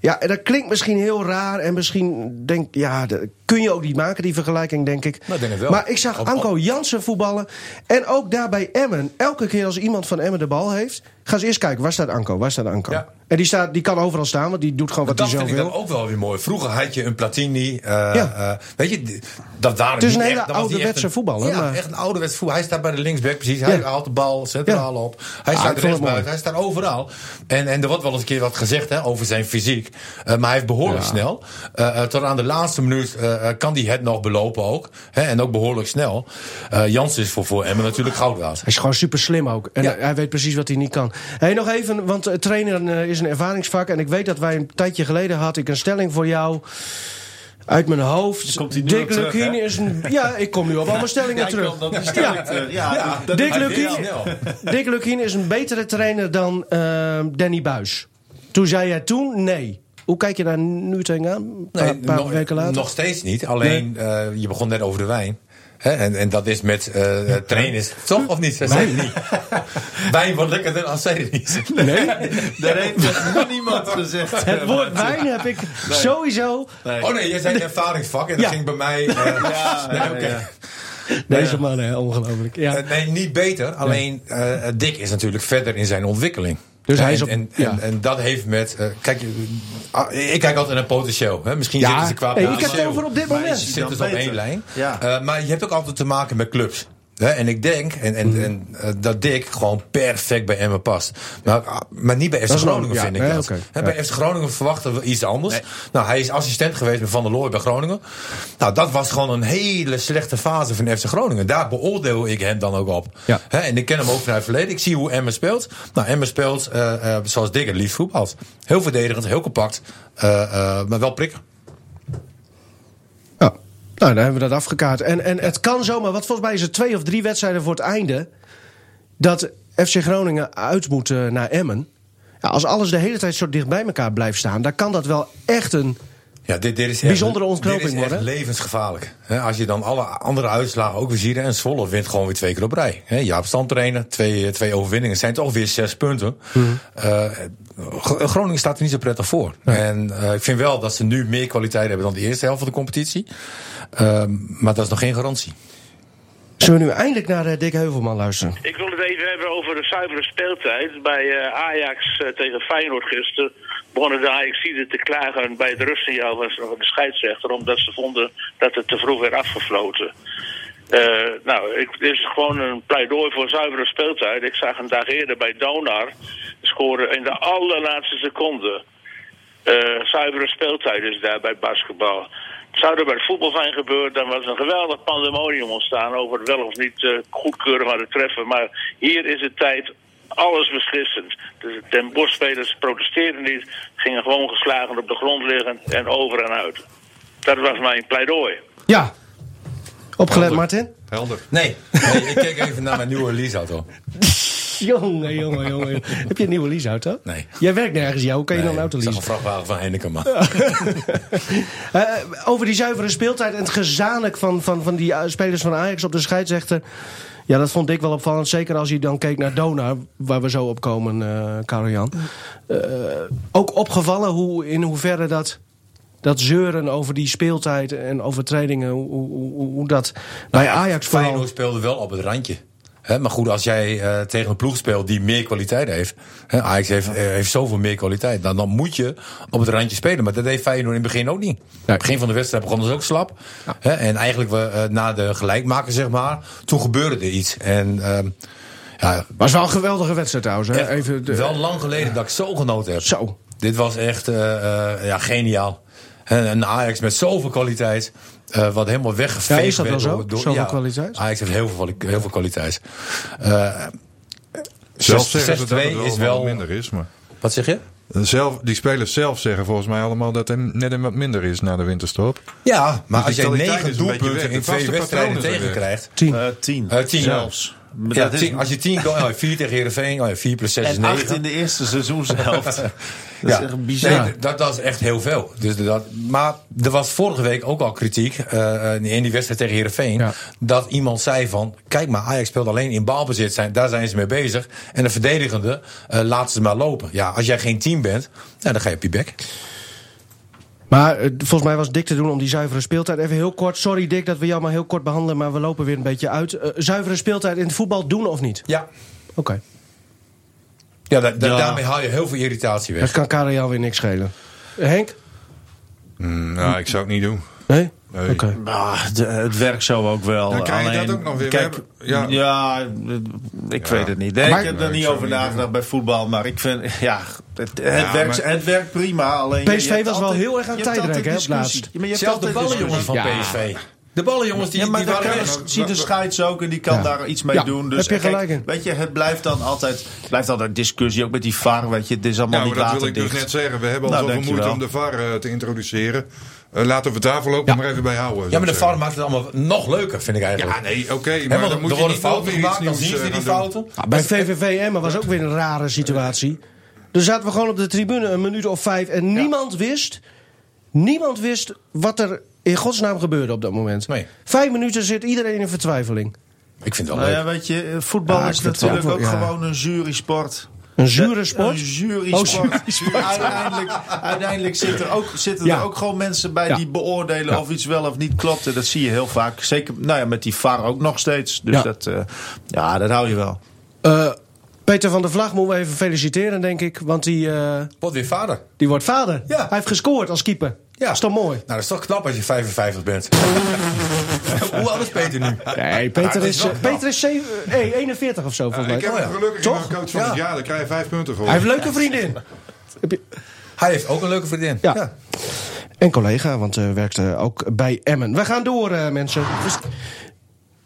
Speaker 1: Ja, en dat klinkt misschien heel raar. En misschien denk ja, dat kun je ook niet maken, die vergelijking, denk ik.
Speaker 2: Nou, ik denk het wel.
Speaker 1: Maar ik zag
Speaker 2: Op-
Speaker 1: Anko
Speaker 2: op-
Speaker 1: Jansen voetballen. En ook daarbij Emmen. Elke keer als iemand van Emmen de bal heeft... ga eens eerst kijken, waar staat Anko? Waar staat Anko?
Speaker 2: Ja.
Speaker 1: En die, staat, die kan overal staan, want die doet gewoon wat
Speaker 2: dat
Speaker 1: hij
Speaker 2: vind
Speaker 1: zelf
Speaker 2: ik dan
Speaker 1: wil.
Speaker 2: ook wel weer mooi. Vroeger had je een Platini. eh,
Speaker 1: Ja.
Speaker 2: eh, weet je, d- dat waren
Speaker 1: Het is
Speaker 2: niet
Speaker 1: een
Speaker 2: echt-
Speaker 1: hele
Speaker 2: dat was niet
Speaker 1: ouderwetse
Speaker 2: echt een-
Speaker 1: voetballer,
Speaker 2: Ja,
Speaker 1: maar-
Speaker 2: echt een ouderwetse voetbal. Hij staat bij de linksback precies. Hij
Speaker 1: Ja.
Speaker 2: haalt de bal, zet de
Speaker 1: Ja.
Speaker 2: bal op. Hij
Speaker 1: Ah, ik vond
Speaker 2: staat
Speaker 1: het
Speaker 2: rechtsbuiten.
Speaker 1: mooi.
Speaker 2: Hij staat overal. En, en er wordt wel eens een keer wat gezegd hè, over zijn fysiek. Eh, maar hij heeft behoorlijk snel. Eh, eh, tot aan de laatste minuut eh, eh, kan hij het nog belopen ook. Hè, en ook behoorlijk snel. Eh Jans is voor, voor Emmen natuurlijk goud waard.
Speaker 1: Hij is gewoon super slim ook. En
Speaker 2: Ja.
Speaker 1: hij- hij weet precies wat hij niet kan. Hey, nog even, want eh, trainen eh, is een ervaringsvak. En ik weet dat wij een tijdje geleden had ik een stelling voor jou... Uit mijn hoofd.
Speaker 3: Komt hij nu
Speaker 1: Dick
Speaker 3: op terug,
Speaker 1: Lukien
Speaker 3: hè?
Speaker 1: is een. Ja, ik kom nu op allemaal stellingen
Speaker 3: Ja, ik
Speaker 1: terug.
Speaker 3: wil dat die stelling terug. Ja, dat-
Speaker 1: Dick
Speaker 3: dat-
Speaker 1: Lukien.
Speaker 3: Ja.
Speaker 2: Snel.
Speaker 1: Dick Lukien is een betere trainer dan ehm, Danny Buis. Toen zei jij toen nee. Hoe kijk je daar nu tegenaan? Een paar,
Speaker 2: Nee,
Speaker 1: paar
Speaker 2: nog,
Speaker 1: weken later.
Speaker 2: nog steeds niet. Alleen, eh, je begon net over de wijn. Hè, en, en dat is met eh eh, trainers, toch? Of niet? Zij zeggen niet. wijn wordt lekkerder als zij het niet zeggen.
Speaker 3: Daar heeft nog niemand gezegd.
Speaker 1: het woord wijn heb ik sowieso.
Speaker 2: Oh nee, jij zei een ervaringsvak en dat
Speaker 1: Ja.
Speaker 2: ging bij mij... eh,
Speaker 3: Ja,
Speaker 2: nee,
Speaker 3: ja,
Speaker 2: oké.
Speaker 3: ja.
Speaker 1: Deze man, hè, ongelooflijk. Ja.
Speaker 2: Eh, nee, niet beter. Alleen, eh Dick is natuurlijk verder in zijn ontwikkeling.
Speaker 1: Dus hij
Speaker 2: En-
Speaker 1: is op-
Speaker 2: en,
Speaker 1: ja.
Speaker 2: en, en dat heeft met... eh, kijk, eh, ah, ik kijk altijd naar potentieel. Hè? Misschien
Speaker 1: Ja.
Speaker 2: zitten ze qua
Speaker 1: Hey, ik heb het
Speaker 2: potentieel.
Speaker 1: over op dit
Speaker 2: Maar
Speaker 1: moment.
Speaker 2: Ze zitten
Speaker 3: Dan
Speaker 2: dus op
Speaker 3: beter.
Speaker 2: één lijn.
Speaker 3: Ja.
Speaker 2: Eh, maar je hebt ook altijd te maken met clubs. Hè, en ik denk en, en, en, eh, dat Dick gewoon perfect bij Emmen past. Maar, ah, maar niet bij FC
Speaker 1: is wel-
Speaker 2: Groningen,
Speaker 1: ja,
Speaker 2: vind ik
Speaker 1: hè,
Speaker 2: dat.
Speaker 1: oké.
Speaker 2: Hè, bij FC Groningen verwachten we iets anders. Nou, hij is assistent geweest met Van der Looy bij Groningen. Nou, dat was gewoon een hele slechte fase van FC Groningen. Daar beoordeel ik hem dan ook op.
Speaker 1: Ja.
Speaker 2: Hè, en ik ken hem ook vanuit het verleden. Ik zie hoe Emmen speelt. Nou, Emmen speelt eh, eh, zoals Dick het liefst voetbalt. Heel verdedigend, heel compact, eh, eh, maar wel prikken.
Speaker 1: Ja. Nou, dan hebben we dat afgekaart. En, en het kan zomaar, want volgens mij is het twee of drie wedstrijden voor het einde. dat FC Groningen uit moet eh, naar Emmen. Ja, als alles de hele tijd zo dicht bij elkaar blijft staan, dan kan dat wel echt een.
Speaker 2: Ja, dit, dit is echt,
Speaker 1: Bijzondere ontknoping
Speaker 2: dit is echt
Speaker 1: worden.
Speaker 2: levensgevaarlijk. Hè, als je dan alle andere uitslagen ook weer ziet. hè, En Zwolle wint gewoon weer twee keer op rij. Hè, Jaap Stam trainen, twee, eh, twee overwinningen. zijn toch weer zes punten.
Speaker 1: Hmm.
Speaker 2: Eh, Gro- Groningen staat er niet zo prettig voor. En eh, ik vind wel dat ze nu meer kwaliteit hebben dan de eerste helft van de competitie. Ehm, maar dat is nog geen garantie.
Speaker 1: Zullen we nu eindelijk naar eh, Dick Heuvelman luisteren?
Speaker 7: Ik wil het even hebben over de zuivere speeltijd. Bij eh, Ajax eh, tegen Feyenoord gisteren begonnen de Ajaxiden te klagen bij het rustsignaal van van de scheidsrechter... omdat ze vonden dat het te vroeg werd afgefloten. Eh, nou, ik, dit is gewoon een pleidooi voor zuivere speeltijd. Ik zag een dag eerder bij Donar scoren in de allerlaatste seconde. Eh, zuivere speeltijd is daar bij basketbal. Zou er bij het voetbal zijn gebeurd, dan was er een geweldig pandemonium ontstaan over het wel of niet eh, goedkeuren van het treffen. Maar hier is de tijd alles beslissend. De Den Bosch-spelers protesteerden niet, gingen gewoon geslagen op de grond liggen en over en uit. Dat was mijn pleidooi.
Speaker 1: Ja. Opgelet, Martin?
Speaker 5: Helder.
Speaker 2: Nee, nee ik kijk even naar mijn nieuwe leaseauto.
Speaker 1: Jongen, jongen, jongen. jongen. Heb je een nieuwe leaseauto?
Speaker 2: Nee.
Speaker 1: Jij werkt nergens, jou. Hoe kan je
Speaker 2: Nee,
Speaker 1: dan een auto
Speaker 2: ik zag een
Speaker 1: leasen?
Speaker 2: vrachtwagen van Heineken, maar...
Speaker 1: Eh, over die zuivere speeltijd en het gezanik van, van, van die eh, spelers van Ajax op de scheidsrechter. Ja, dat vond ik wel opvallend. Zeker als je dan keek naar Donar, waar we zo op komen, eh Karel-Jan. Eh, ook opgevallen hoe, in hoeverre dat, dat zeuren over die speeltijd en overtredingen... hoe, hoe, hoe- hoe dat bij Ajax vooral...
Speaker 2: Feyenoord speelde wel op het randje. Hè, maar goed, als jij eh, tegen een ploeg speelt die meer kwaliteit heeft. Hè, Ajax heeft, eh, heeft zoveel meer kwaliteit. Dan, dan moet je op het randje spelen. Maar dat deed Feyenoord in het begin ook niet. In het begin van de wedstrijd begonnen ze ook slap. Hè, en eigenlijk we, eh, na de gelijkmaker, zeg maar. Toen gebeurde er iets. En ehm, ja,
Speaker 1: Was wel een geweldige wedstrijd trouwens. Hè?
Speaker 2: echt
Speaker 1: Even de-
Speaker 2: wel lang geleden dat ik zo genoten heb.
Speaker 1: Zo.
Speaker 2: Dit was echt eh, eh, ja, geniaal. En, en Ajax met zoveel kwaliteit. eh, wat helemaal weggeveegd
Speaker 1: Ja, is dat
Speaker 2: werd
Speaker 1: wel zo?
Speaker 2: door- door-
Speaker 1: Zoveel kwaliteit?
Speaker 2: Ajax heeft heel veel, kwali- heel veel kwaliteit. Eh,
Speaker 5: Zelf
Speaker 2: Zelfs
Speaker 5: zeggen ze dat
Speaker 2: 6-2
Speaker 5: het wel,
Speaker 2: is
Speaker 5: is
Speaker 2: wel-
Speaker 5: minder is. Maar
Speaker 2: wat zeg je?
Speaker 5: zelf, die spelers zelf zeggen volgens mij allemaal dat het net een wat minder is na de winterstop.
Speaker 2: Ja, maar
Speaker 5: die
Speaker 2: als jij
Speaker 5: kwaliteit is
Speaker 2: negen
Speaker 5: een beetje
Speaker 2: doelpunten
Speaker 5: weg.
Speaker 2: in
Speaker 5: De vaste
Speaker 2: twee wedstrijden
Speaker 5: patronen zijn
Speaker 2: tegenkrijgt.
Speaker 1: Tien.
Speaker 3: Eh, tien.
Speaker 2: Eh, tien
Speaker 3: zelfs. Maar
Speaker 2: Ja,
Speaker 3: dat is-
Speaker 2: tien- als je 10 goal, ja, 4 tegen Heerenveen, oh ja, 4 plus 6 is
Speaker 3: en acht
Speaker 2: 9.
Speaker 3: in de eerste seizoenshelft. dat is echt bizar.
Speaker 2: Nee, dat, dat is echt heel veel. Dus dat, maar er was vorige week ook al kritiek eh, in die wedstrijd tegen Heerenveen.
Speaker 1: Ja.
Speaker 2: Dat iemand zei van, kijk maar, Ajax speelt alleen in balbezit. Zijn, daar zijn ze mee bezig. En de verdedigende eh, laten ze maar lopen. Ja, als jij geen team bent, nou, dan ga je op je bek.
Speaker 1: Maar eh, volgens mij was Dick te doen om die zuivere speeltijd even heel kort. Sorry Dick dat we jou maar heel kort behandelen, maar we lopen weer een beetje uit. Eh, zuivere speeltijd in het voetbal doen of niet?
Speaker 2: Ja,
Speaker 1: Oké.
Speaker 2: ja, da- da- daarmee haal je heel veel irritatie
Speaker 1: Dat
Speaker 2: weg.
Speaker 1: kan Karel jou weer niks schelen. Eh, Henk?
Speaker 5: nou, ik zou het niet doen.
Speaker 1: Nee?
Speaker 5: Nee. Nou,
Speaker 1: Oké.
Speaker 3: Maar Nou, de- het werkt zo ook wel.
Speaker 5: Dan krijg je dat
Speaker 3: Alleen,
Speaker 5: ook nog weer. We
Speaker 3: Kijk, ja.
Speaker 5: hebben- ja.
Speaker 3: ik
Speaker 5: Ja.
Speaker 3: weet het niet. Nee,
Speaker 1: Maar-
Speaker 3: ik heb er
Speaker 5: Nee, ik
Speaker 3: niet
Speaker 5: zou
Speaker 3: over
Speaker 5: het niet
Speaker 3: nagedacht bij voetbal. Maar ik vind, ja, het, het, werkt,
Speaker 5: maar-
Speaker 3: het werkt prima. Alleen,
Speaker 1: PSV was wel heel erg aan tijd
Speaker 3: tijdrekken
Speaker 1: raken, hè, op laatst.
Speaker 2: Zelfs de ballenjongens van
Speaker 1: Ja.
Speaker 2: PSV. De ballenjongens die,
Speaker 3: Ja, maar
Speaker 2: die
Speaker 3: dat
Speaker 2: waren
Speaker 3: kan,
Speaker 2: weg.
Speaker 3: dat ziet de scheids ook en die kan
Speaker 1: Ja.
Speaker 3: daar iets mee
Speaker 1: Ja,
Speaker 3: doen. Dus
Speaker 1: heb je
Speaker 3: kijk,
Speaker 1: gelijk in.
Speaker 3: Weet je, het blijft dan altijd, blijft altijd discussie, ook met die VAR. Weet je, het is allemaal
Speaker 5: maar
Speaker 3: niet
Speaker 5: dat wil ik
Speaker 3: waterdicht.
Speaker 5: dus net zeggen. We hebben al
Speaker 3: Nou,
Speaker 5: zoveel moeite
Speaker 3: dankjewel.
Speaker 5: om de VAR eh, te introduceren. Eh, laten we het daar voorlopig maar even bij houden.
Speaker 2: Ja, maar de
Speaker 5: zou
Speaker 2: VAR
Speaker 5: ik
Speaker 2: maakt het allemaal nog leuker, vind ik eigenlijk.
Speaker 5: zeggen. Ja, nee, oké.
Speaker 2: Hè,
Speaker 5: maar
Speaker 2: want
Speaker 5: dan moet
Speaker 2: er
Speaker 5: je
Speaker 2: worden
Speaker 5: niet nog
Speaker 2: fouten
Speaker 5: weer iets
Speaker 2: gemaakt, dan
Speaker 5: nieuws
Speaker 2: zien ze die
Speaker 5: eh, gaan doen.
Speaker 2: fouten.
Speaker 1: Ah, bij VVV Emmen was ook weer een rare situatie. Er zaten we gewoon op de tribune een minuut of vijf en niemand wist... Niemand wist wat er in godsnaam gebeurde op dat moment.
Speaker 2: Nee.
Speaker 1: Vijf minuten zit iedereen in vertwijfeling.
Speaker 2: Ik vind het wel
Speaker 3: Nou
Speaker 2: leuk.
Speaker 3: ja, weet je, voetbal
Speaker 1: Ja, ik
Speaker 3: is
Speaker 1: vind het wel
Speaker 3: natuurlijk ook
Speaker 1: wel- ja.
Speaker 3: gewoon een jurysport.
Speaker 1: Een zure sport.
Speaker 3: Een jurysport.
Speaker 1: Oh, jurysport.
Speaker 3: Uiteindelijk, uiteindelijk zitten, er ook, zitten
Speaker 1: Ja.
Speaker 3: er ook gewoon mensen bij
Speaker 1: Ja.
Speaker 3: die beoordelen of iets wel of niet klopt. En dat zie je heel vaak. Zeker nou ja, met die VAR ook nog steeds. Dus
Speaker 1: Ja.
Speaker 3: Dat, eh, ja, dat hou je wel.
Speaker 1: Eh, Peter van der Vlag moeten we even feliciteren, denk ik. Want die, eh,
Speaker 2: Wordt weer vader.
Speaker 1: die wordt vader.
Speaker 2: Ja.
Speaker 1: Hij heeft gescoord als keeper.
Speaker 2: Ja.
Speaker 1: Dat is toch mooi?
Speaker 2: Nou, dat is toch knap als je 55 bent. Hoe oud is Peter nu?
Speaker 1: Nee, Peter
Speaker 2: Nou, dat
Speaker 1: is,
Speaker 2: is wel
Speaker 1: eh, Peter is zeven- nee, 41 of zo, volgens mij.
Speaker 5: Ik heb
Speaker 2: Oh ja.
Speaker 5: hem gelukkig
Speaker 1: Toch?
Speaker 5: in mijn coach van
Speaker 2: Ja.
Speaker 5: het jaar. Daar krijg je vijf punten voor.
Speaker 1: Hij heeft een leuke vriendin. Heb je-
Speaker 2: Hij heeft ook een leuke vriendin.
Speaker 1: Ja. En collega, want eh werkte ook bij Emmen. We gaan door, eh, mensen.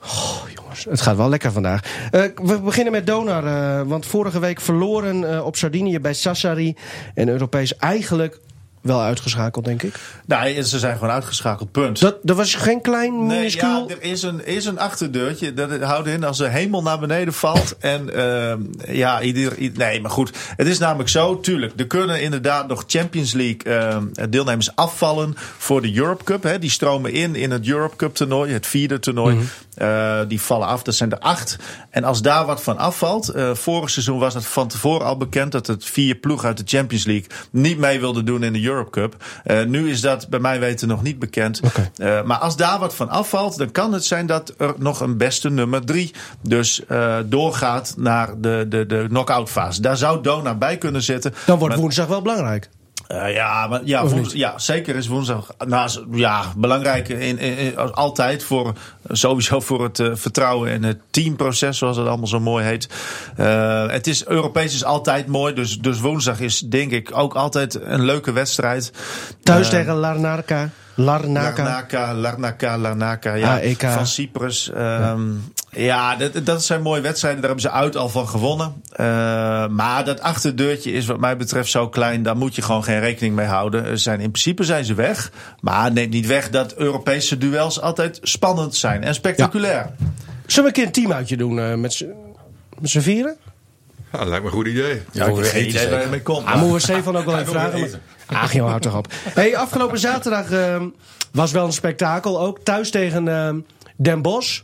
Speaker 1: Oh, jongens, het gaat wel lekker vandaag. Eh, we beginnen met Donar. eh, want vorige week verloren eh, op Sardinië bij Sassari. En Europees eigenlijk wel uitgeschakeld, denk ik.
Speaker 3: Nou, ze zijn gewoon uitgeschakeld, punt.
Speaker 1: Dus Dat, dat was geen klein
Speaker 3: Nee, ja,
Speaker 1: minuscuul.
Speaker 3: er is een, is een achterdeurtje. Dat houdt in als de hemel naar beneden valt. En ehm, ja, ieder, i- nee, maar goed. Het is namelijk zo, tuurlijk. Er kunnen inderdaad nog Champions League ehm, deelnemers afvallen voor de Europe Cup. Hè. Die stromen in in het Europe Cup toernooi, het vierde toernooi. Eh, die vallen af, dat zijn er acht. En als daar wat van afvalt. eh, vorig seizoen was het van tevoren al bekend dat het vier ploeg uit de Champions League niet mee wilde doen in de Europe Cup. Eh, nu is dat bij mij weten nog niet bekend. Eh, maar als daar wat van afvalt, dan kan het zijn dat er nog een beste nummer drie dus eh, doorgaat naar de, de, de knock-out fase. Daar zou Dona bij kunnen zitten.
Speaker 1: Dan wordt
Speaker 3: Maar-
Speaker 1: woensdag wel belangrijk.
Speaker 3: eh, ja, maar, ja,
Speaker 1: Of
Speaker 3: woens-
Speaker 1: niet?
Speaker 3: ja, zeker is woensdag. Nou, z- ja, belangrijk in, in- in- altijd voor sowieso voor het eh, vertrouwen en het teamproces, zoals het allemaal zo mooi heet. Eh, het is Europees is altijd mooi, dus, dus woensdag is denk ik ook altijd een leuke wedstrijd.
Speaker 1: Thuis
Speaker 3: Eh,
Speaker 1: tegen Larnaca. Larnaca.
Speaker 3: Larnaca, Larnaca, Larnaca, ja.
Speaker 1: AEK.
Speaker 3: Van Cyprus. ehm, ja, dat, dat zijn mooie wedstrijden. Daar hebben ze uit al van gewonnen. Eh, maar dat achterdeurtje is wat mij betreft zo klein. Daar moet je gewoon geen rekening mee houden. Er zijn, in principe zijn ze weg. Maar neemt niet weg dat Europese duels altijd spannend zijn. En spectaculair.
Speaker 1: Zullen we een keer een teamuitje doen eh, met z'n- met z'n vieren?
Speaker 5: Ja, lijkt me een goed idee.
Speaker 2: Ja, ik
Speaker 3: Geen
Speaker 2: weet
Speaker 3: idee waar je mee komt.
Speaker 1: Ah, moeten we Stefan ook wel even
Speaker 2: wil
Speaker 1: vragen.
Speaker 2: weer
Speaker 1: maar- Ach, joh, houd toch op. Hey, afgelopen zaterdag ehm, was wel een spektakel. Ook thuis tegen ehm, Den Bosch.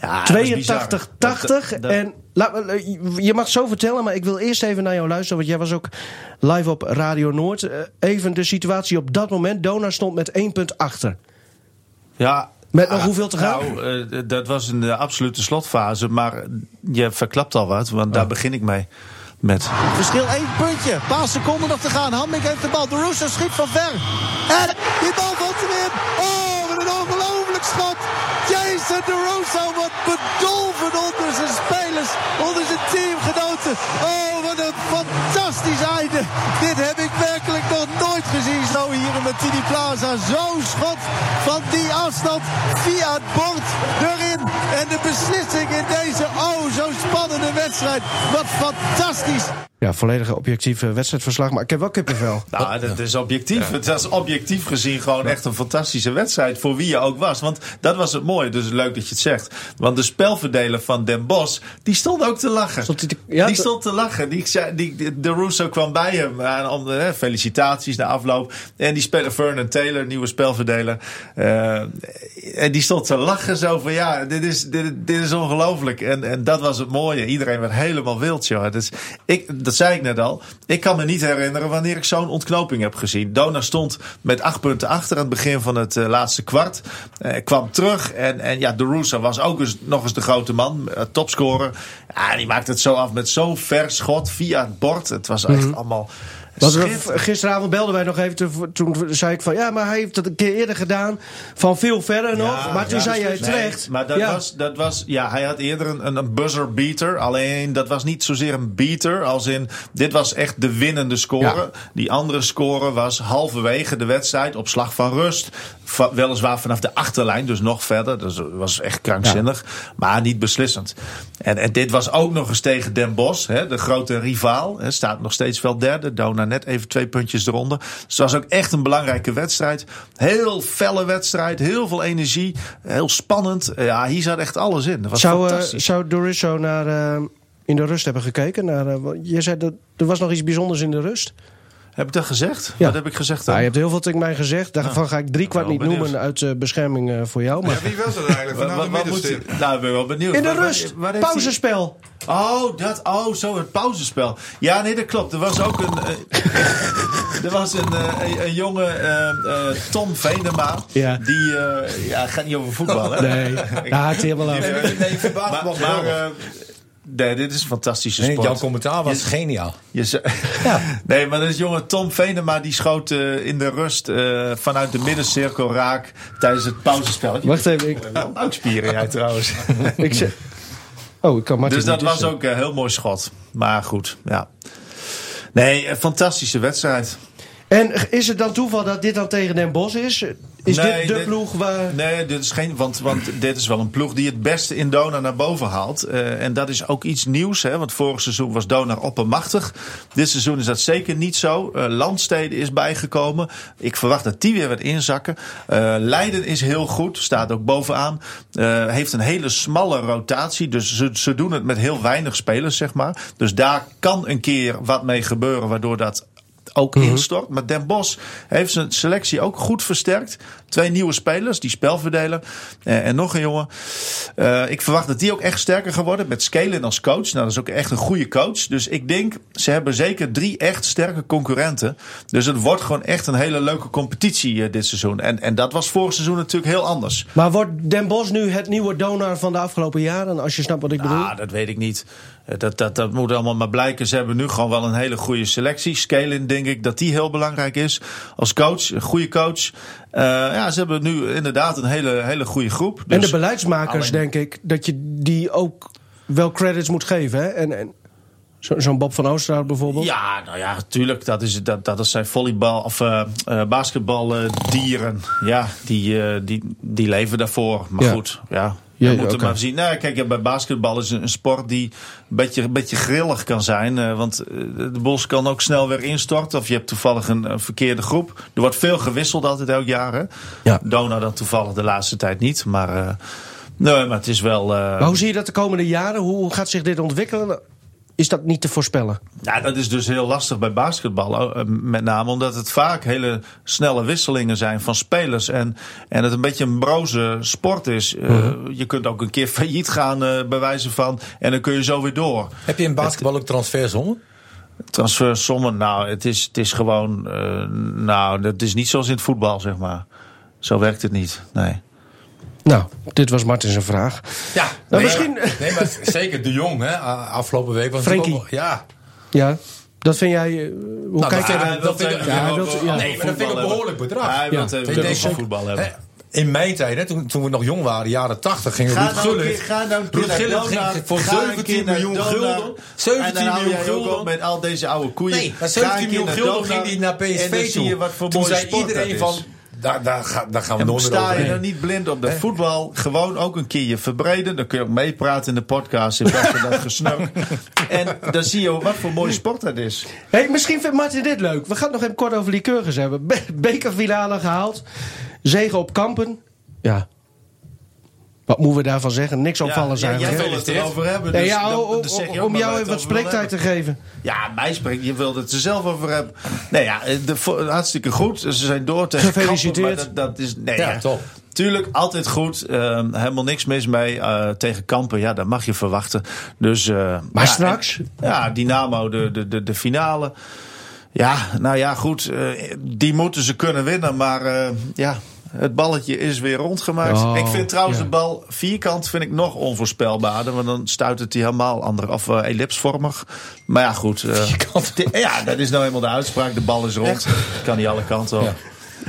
Speaker 3: Ja, Ah, dat is bizar.
Speaker 1: 82-80.
Speaker 3: Dat- dat-
Speaker 1: En laat me- eh, je mag zo vertellen, maar ik wil eerst even naar jou luisteren. Want jij was ook live op Radio Noord. Eh, Even de situatie op dat moment. Dona stond met 1 punt achter.
Speaker 3: Ja.
Speaker 1: Met nog
Speaker 3: Ah,
Speaker 1: hoeveel te gaan?
Speaker 3: Nou, eh, dat was een eh, absolute slotfase. Maar je verklapt al wat, want daar begin ik mee. Met.
Speaker 8: Oh. Verschil één puntje. Paar seconden nog te gaan. Hamming heeft de bal. De Russo schiet van ver. En die bal valt hem in. Oh, wat een ongelooflijk schot. Jason de Russo wordt bedolven onder zijn spelers. Onder zijn teamgenoten. Oh, wat een fantastisch einde. Dit heb ik werkelijk nog nooit gezien. Zo hier in Martini Plaza. Zo'n schot van die afstand. Via het bord erin. En de beslissing in deze oh zo spannende wedstrijd. Wat fantastisch.
Speaker 1: Ja, volledig objectief eh, wedstrijdverslag. Maar ik heb wel kippenvel.
Speaker 3: Nou, dat is objectief. Het was objectief gezien gewoon echt een fantastische wedstrijd. Voor wie je ook was. Want dat was het mooie. Dus leuk dat je het zegt. Want de spelverdeler van Den Bos, die stond ook te lachen.
Speaker 1: Stond hij te- ja,
Speaker 3: die
Speaker 1: te-
Speaker 3: stond te lachen. Die, zei- die, die- de Russo kwam bij hem. Aan, om, hè, felicitaties na afloop. En die speler Vernon Taylor, nieuwe spelverdeler. eh, en die stond te lachen zo van ja, dit is, dit, dit is ongelooflijk. En, en dat was het mooie. Iedereen werd helemaal wild, joh. Dus ik, dat zei ik net al. Ik kan me niet herinneren wanneer ik zo'n ontknoping heb gezien. Dona stond met acht punten achter aan het begin van het eh, laatste kwart. Eh, kwam terug. En, en ja, de Russo was ook eens, nog eens de grote man. eh, topscorer. Ja, die maakte het zo af met zo'n ver schot via het bord. Het was echt allemaal.
Speaker 1: Was er-
Speaker 3: schitterend.
Speaker 1: gisteravond belden wij nog even. te- Toen zei ik van ja, maar hij heeft het een keer eerder gedaan. Van veel verder nog. Maar toen zei jij
Speaker 3: dus Nee,
Speaker 1: terecht.
Speaker 3: maar dat,
Speaker 1: ja.
Speaker 3: was, dat was. Ja, hij had eerder een, een- een buzzer beater. Alleen dat was niet zozeer een beater. Als in. Dit was echt de winnende score. Die andere score was halverwege de wedstrijd op slag van rust. Va- weliswaar vanaf de achterlijn, dus nog verder. Dus dat was echt krankzinnig. Maar niet beslissend. En, en dit was ook nog eens tegen Den Bosch, hè, de grote rivaal. Hè, staat nog steeds wel derde. Dona net even twee puntjes eronder. Dus het was ook echt een belangrijke wedstrijd. Heel felle wedstrijd, heel veel energie, heel spannend. Ja, hier zat echt alles in. Dat was
Speaker 1: Zou, eh,
Speaker 3: fantastisch.
Speaker 1: zou Dorisso naar, eh, in de rust hebben gekeken? Naar, eh, wat- je zei dat er was nog iets bijzonders in de rust.
Speaker 3: heb ik dat gezegd?
Speaker 1: Ja.
Speaker 3: Wat heb ik gezegd dan?
Speaker 1: Nou, je hebt heel veel tegen mij gezegd. Daarvan ga ik drie kwart
Speaker 3: wel
Speaker 1: niet
Speaker 3: benieuwd.
Speaker 1: noemen uit eh, bescherming eh, voor jou. Maar
Speaker 5: Ja, wie was dat eigenlijk?
Speaker 3: Wat-
Speaker 5: Vanaf de
Speaker 3: wat- wat moet-
Speaker 5: middenstip.
Speaker 3: nou, ik ben wel benieuwd.
Speaker 1: in de
Speaker 3: Wat- wat-
Speaker 1: rust,
Speaker 3: wat heeft hij-
Speaker 1: pauzespel.
Speaker 3: Oh, dat, oh, zo het pauzespel. Ja, nee, dat klopt. Er was ook een. eh, er was een, eh, een, een jonge eh, eh, Tom Venema.
Speaker 1: Ja.
Speaker 3: Die. eh, ja, het gaat niet over voetbal, hè?
Speaker 1: Nee, daar haakt hij helemaal af.
Speaker 3: Nee,
Speaker 2: Nee, verbaasd
Speaker 3: maar
Speaker 2: was
Speaker 3: maar,
Speaker 2: wel.
Speaker 3: eh, Nee, dit is een fantastische
Speaker 2: Nee,
Speaker 3: sport.
Speaker 2: jouw commentaar was
Speaker 3: Je-
Speaker 2: geniaal.
Speaker 3: Je ze- Nee, maar dat is jongen Tom Venema die schoot eh, in de rust eh, vanuit de middencirkel raak tijdens het pauzespelletje.
Speaker 1: Wacht even, ik,
Speaker 3: Ook spieren jij trouwens.
Speaker 1: ik zeg... Oh, ik kan Martin
Speaker 3: dus dat
Speaker 1: niet
Speaker 3: was
Speaker 1: tussen.
Speaker 3: ook een heel mooi schot. Maar goed, ja. Nee, een fantastische wedstrijd.
Speaker 1: En is het dan toeval dat dit dan tegen Den Bosch is? Is
Speaker 3: Nee,
Speaker 1: dit de
Speaker 3: dit-
Speaker 1: ploeg waar...
Speaker 3: Nee, dit is geen, want, want dit is wel een ploeg die het beste in Donar naar boven haalt. Eh, en dat is ook iets nieuws, hè, want vorig seizoen was Donar oppermachtig. Dit seizoen is dat zeker niet zo. Eh Landstede is bijgekomen. Ik verwacht dat die weer wat inzakken. Eh, Leiden is heel goed, staat ook bovenaan. Eh, heeft een hele smalle rotatie, dus ze, ze doen het met heel weinig spelers, zeg maar. Dus daar kan een keer wat mee gebeuren, waardoor dat ook instort. Maar Den Bos heeft zijn selectie ook goed versterkt. Twee nieuwe spelers, die spelverdelen. Eh, en nog een jongen. Eh, ik verwacht dat die ook echt sterker gaan worden. Met Scalen als coach. Nou, dat is ook echt een goede coach. Dus ik denk, ze hebben zeker drie echt sterke concurrenten. Dus het wordt gewoon echt een hele leuke competitie eh, dit seizoen. En, en dat was vorig seizoen natuurlijk heel anders.
Speaker 1: Maar wordt Den Bosch nu het nieuwe donor van de afgelopen jaren? Als je snapt wat ik bedoel.
Speaker 3: Ah, dat weet ik niet. Eh, Dat, dat, dat moet allemaal maar blijken. Ze hebben nu gewoon wel een hele goede selectie. Scalen denk ik dat die heel belangrijk is. Als coach, een goede coach. Eh, ja, ze hebben nu inderdaad een hele, hele goede groep.
Speaker 1: en de
Speaker 3: Dus-
Speaker 1: beleidsmakers,
Speaker 3: Alleen-
Speaker 1: denk ik, dat je die ook wel credits moet geven. Hè? En, en zo- zo'n Bob van Oosterhout bijvoorbeeld.
Speaker 3: Ja, nou ja, tuurlijk. Dat, is, dat, dat zijn volleybal of eh basketbaldieren. ja, die, eh, die, die leven daarvoor. Maar
Speaker 1: Ja.
Speaker 3: goed, ja.
Speaker 1: Ja,
Speaker 3: Je moet
Speaker 1: oké.
Speaker 3: er maar zien. Nou, kijk, ja, bij basketbal is een, een sport die een beetje, een beetje grillig kan zijn. eh, want eh, de bos kan ook snel weer instorten. Of je hebt toevallig een, een verkeerde groep. Er wordt veel gewisseld altijd elk jaar. Hè?
Speaker 1: Ja.
Speaker 3: Dona dan toevallig de laatste tijd niet. Maar, eh, nee, maar het is wel... eh,
Speaker 1: Maar hoe zie je dat de komende jaren? Hoe gaat zich dit ontwikkelen? Is dat niet te voorspellen?
Speaker 3: Ja, dat is dus heel lastig bij basketbal. eh, Met name omdat het vaak hele snelle wisselingen zijn van spelers. En, en het een beetje een broze sport is. Eh, Je kunt ook een keer failliet gaan, eh, bij wijze van. En dan kun je zo weer door.
Speaker 2: Heb je in basketbal ook transfersommen?
Speaker 3: Transfersommen, nou, het is, het is gewoon. eh, nou, dat is niet zoals in het voetbal, zeg maar. Zo werkt het niet. Nee.
Speaker 1: Nou, dit was Martin zijn vraag.
Speaker 2: Ja,
Speaker 1: Nou,
Speaker 2: nee,
Speaker 1: misschien-
Speaker 2: maar- nee, maar zeker de Jong, hè, a- afgelopen week. Want
Speaker 1: Frenkie.
Speaker 2: ook- Ja.
Speaker 1: Ja, dat vind jij. eh, Hoe
Speaker 2: Nou,
Speaker 1: kijk
Speaker 2: maar
Speaker 1: jij
Speaker 2: hij
Speaker 1: daar?
Speaker 2: wil tegen-
Speaker 1: ja, hij wil- ja.
Speaker 2: Nee, maar dat vind ik een behoorlijk bedrag.
Speaker 3: Hij wil
Speaker 1: Ja.
Speaker 3: het
Speaker 1: Ik
Speaker 3: even
Speaker 2: denk
Speaker 3: over
Speaker 2: ook-
Speaker 3: voetbal hebben.
Speaker 2: Hè, in mijn tijd, hè, toen, toen we nog jong waren, jaren 80, ging
Speaker 3: Ga
Speaker 2: Ruud
Speaker 3: nou een keer-
Speaker 2: Gullit.
Speaker 3: ga nou een keer
Speaker 2: Ruud
Speaker 3: naar
Speaker 2: Gullit
Speaker 3: Donar,
Speaker 2: ging voor
Speaker 3: ga een
Speaker 2: 17
Speaker 3: keer naar
Speaker 2: miljoen
Speaker 3: Donar.
Speaker 2: gulden.
Speaker 3: En
Speaker 2: 17
Speaker 3: dan hou
Speaker 2: miljoen
Speaker 3: jij ook
Speaker 2: gulden.
Speaker 3: op met al deze oude koeien.
Speaker 2: Nee, maar
Speaker 3: Ga
Speaker 2: 17
Speaker 3: een keer
Speaker 2: miljoen
Speaker 3: naar
Speaker 2: gulden
Speaker 3: Donar
Speaker 2: ging hij naar
Speaker 3: en dan
Speaker 2: PSV
Speaker 3: zie je
Speaker 2: toe.
Speaker 3: wat voor
Speaker 2: Toen
Speaker 3: mooie
Speaker 2: zei
Speaker 3: sport dat
Speaker 2: iedereen
Speaker 3: is.
Speaker 2: van, daar, daar, ga- daar gaan we
Speaker 3: En
Speaker 2: nooit meer
Speaker 3: sta je
Speaker 2: overheen.
Speaker 3: nou niet blind op dat voetbal? Gewoon ook een keer je verbreden. Dan kun je ook meepraten in de podcast in plaats van dat gesnuk. En dan zie je wat voor mooie sport dat is.
Speaker 1: Hey, misschien vindt Martin dit leuk. We gaan het nog even kort over Lycurgus hebben. Be- bekerfinale gehaald. Zegen op Kampen. Ja. Wat moeten we daarvan zeggen? Niks opvallends
Speaker 3: ja, jij
Speaker 1: eigenlijk.
Speaker 3: wil
Speaker 1: hè?
Speaker 3: het erover hebben.
Speaker 1: Nee,
Speaker 3: Dus
Speaker 1: ja,
Speaker 3: dan-
Speaker 1: o- o-
Speaker 3: dan zeg je ook
Speaker 1: om
Speaker 3: maar
Speaker 1: jou
Speaker 3: waar
Speaker 1: even
Speaker 3: je
Speaker 1: wat
Speaker 3: het over wil
Speaker 1: spreektijd te
Speaker 3: hebben.
Speaker 1: geven.
Speaker 3: Ja, mij spreekt. Je wilde het er zelf over hebben. Nee, ja, eh, de, vo- hartstikke goed. Ze zijn door tegen
Speaker 1: Gefeliciteerd.
Speaker 3: Kampen, maar dat, dat is, nee,
Speaker 2: Ja,
Speaker 3: ja,
Speaker 2: top.
Speaker 3: Tuurlijk, altijd goed. Ehm, helemaal niks mis mee eh, tegen Kampen. Ja, dat mag je verwachten. Dus, eh, ja,
Speaker 1: straks?
Speaker 3: en- ja, Dynamo, de, de, de, de finale. Ja, nou ja, goed. eh, die moeten ze kunnen winnen. Maar eh, ja, het balletje is weer rondgemaakt.
Speaker 1: Oh,
Speaker 3: ik vind trouwens
Speaker 1: ja.
Speaker 3: de bal vierkant vind ik nog onvoorspelbaarder. Want dan stuit het die helemaal ander. Of eh, ellipsvormig. Maar ja, goed. eh, di- ja, dat is nou helemaal de uitspraak. De bal is rond. Kan die alle kanten op.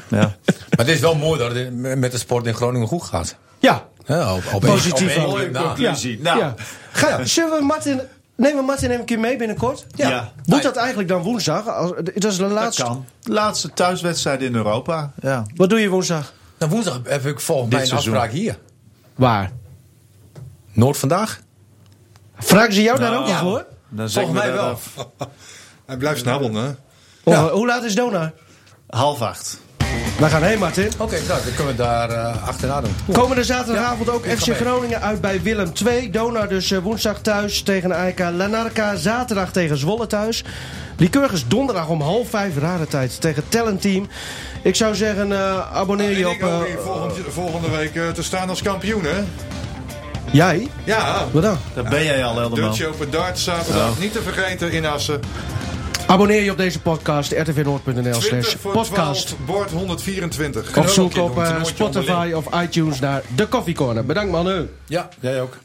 Speaker 3: Ja.
Speaker 2: Maar het is wel mooi dat het in- met de sport in Groningen goed gaat.
Speaker 1: Ja,
Speaker 2: Hè, op, op
Speaker 1: Positief
Speaker 2: op-
Speaker 1: ook.
Speaker 2: op-
Speaker 1: Mooie
Speaker 2: na.
Speaker 3: conclusie. Nou.
Speaker 1: ja. Ga, Zullen we Martin... Nemen we Martin even een keer mee binnenkort?
Speaker 3: Ja.
Speaker 1: Moet dat eigenlijk dan woensdag? Als- Dat is de
Speaker 3: Dat
Speaker 1: laatste.
Speaker 3: kan. Laatste thuiswedstrijd in Europa. Ja.
Speaker 1: Wat doe je woensdag?
Speaker 2: Nou, woensdag heb ik volgens
Speaker 3: Dit
Speaker 2: mij een
Speaker 3: seizoen.
Speaker 2: afspraak hier.
Speaker 1: Waar?
Speaker 2: Noord vandaag?
Speaker 1: Vragen ze jou
Speaker 3: Nou.
Speaker 1: daar ook nog voor?
Speaker 3: Dan zeg ik
Speaker 2: Volgens
Speaker 3: me
Speaker 2: mij
Speaker 3: dat
Speaker 2: wel.
Speaker 3: af.
Speaker 5: Hij blijft snabbelen, hè?
Speaker 1: Of, hoe laat is Dona?
Speaker 3: Half acht.
Speaker 1: Wij gaan heen, Martin.
Speaker 2: Oké, nou, dan kunnen we daar eh, achterna doen.
Speaker 1: Komende zaterdagavond ook
Speaker 2: ik ga
Speaker 1: FC
Speaker 2: mee.
Speaker 1: Groningen uit bij Willem 2. Donar dus eh, woensdag thuis tegen AEK Lanarka. Zaterdag tegen Zwolle thuis. Lycurgus donderdag om half vijf, rare tijd, tegen Talent Team. Ik zou zeggen, eh, abonneer je
Speaker 5: En
Speaker 1: op...
Speaker 5: ik hoop
Speaker 1: eh,
Speaker 5: hier volgende, volgende week eh, te staan als kampioen, hè?
Speaker 1: jij?
Speaker 5: Ja,
Speaker 1: Wat dan?
Speaker 3: Daar ben jij al helemaal.
Speaker 5: Dutch Open Darts zaterdag niet te vergeten in Assen.
Speaker 1: Abonneer je op deze podcast, rtvnoord.nl
Speaker 5: 20
Speaker 1: slash
Speaker 5: voor
Speaker 1: podcast.
Speaker 5: 12, bord 124.
Speaker 1: Of zoek op eh,
Speaker 5: Toernooitje
Speaker 1: Spotify
Speaker 5: onderling.
Speaker 1: of iTunes naar de Coffee Corner. Bedankt mannen.
Speaker 2: Ja, jij ook.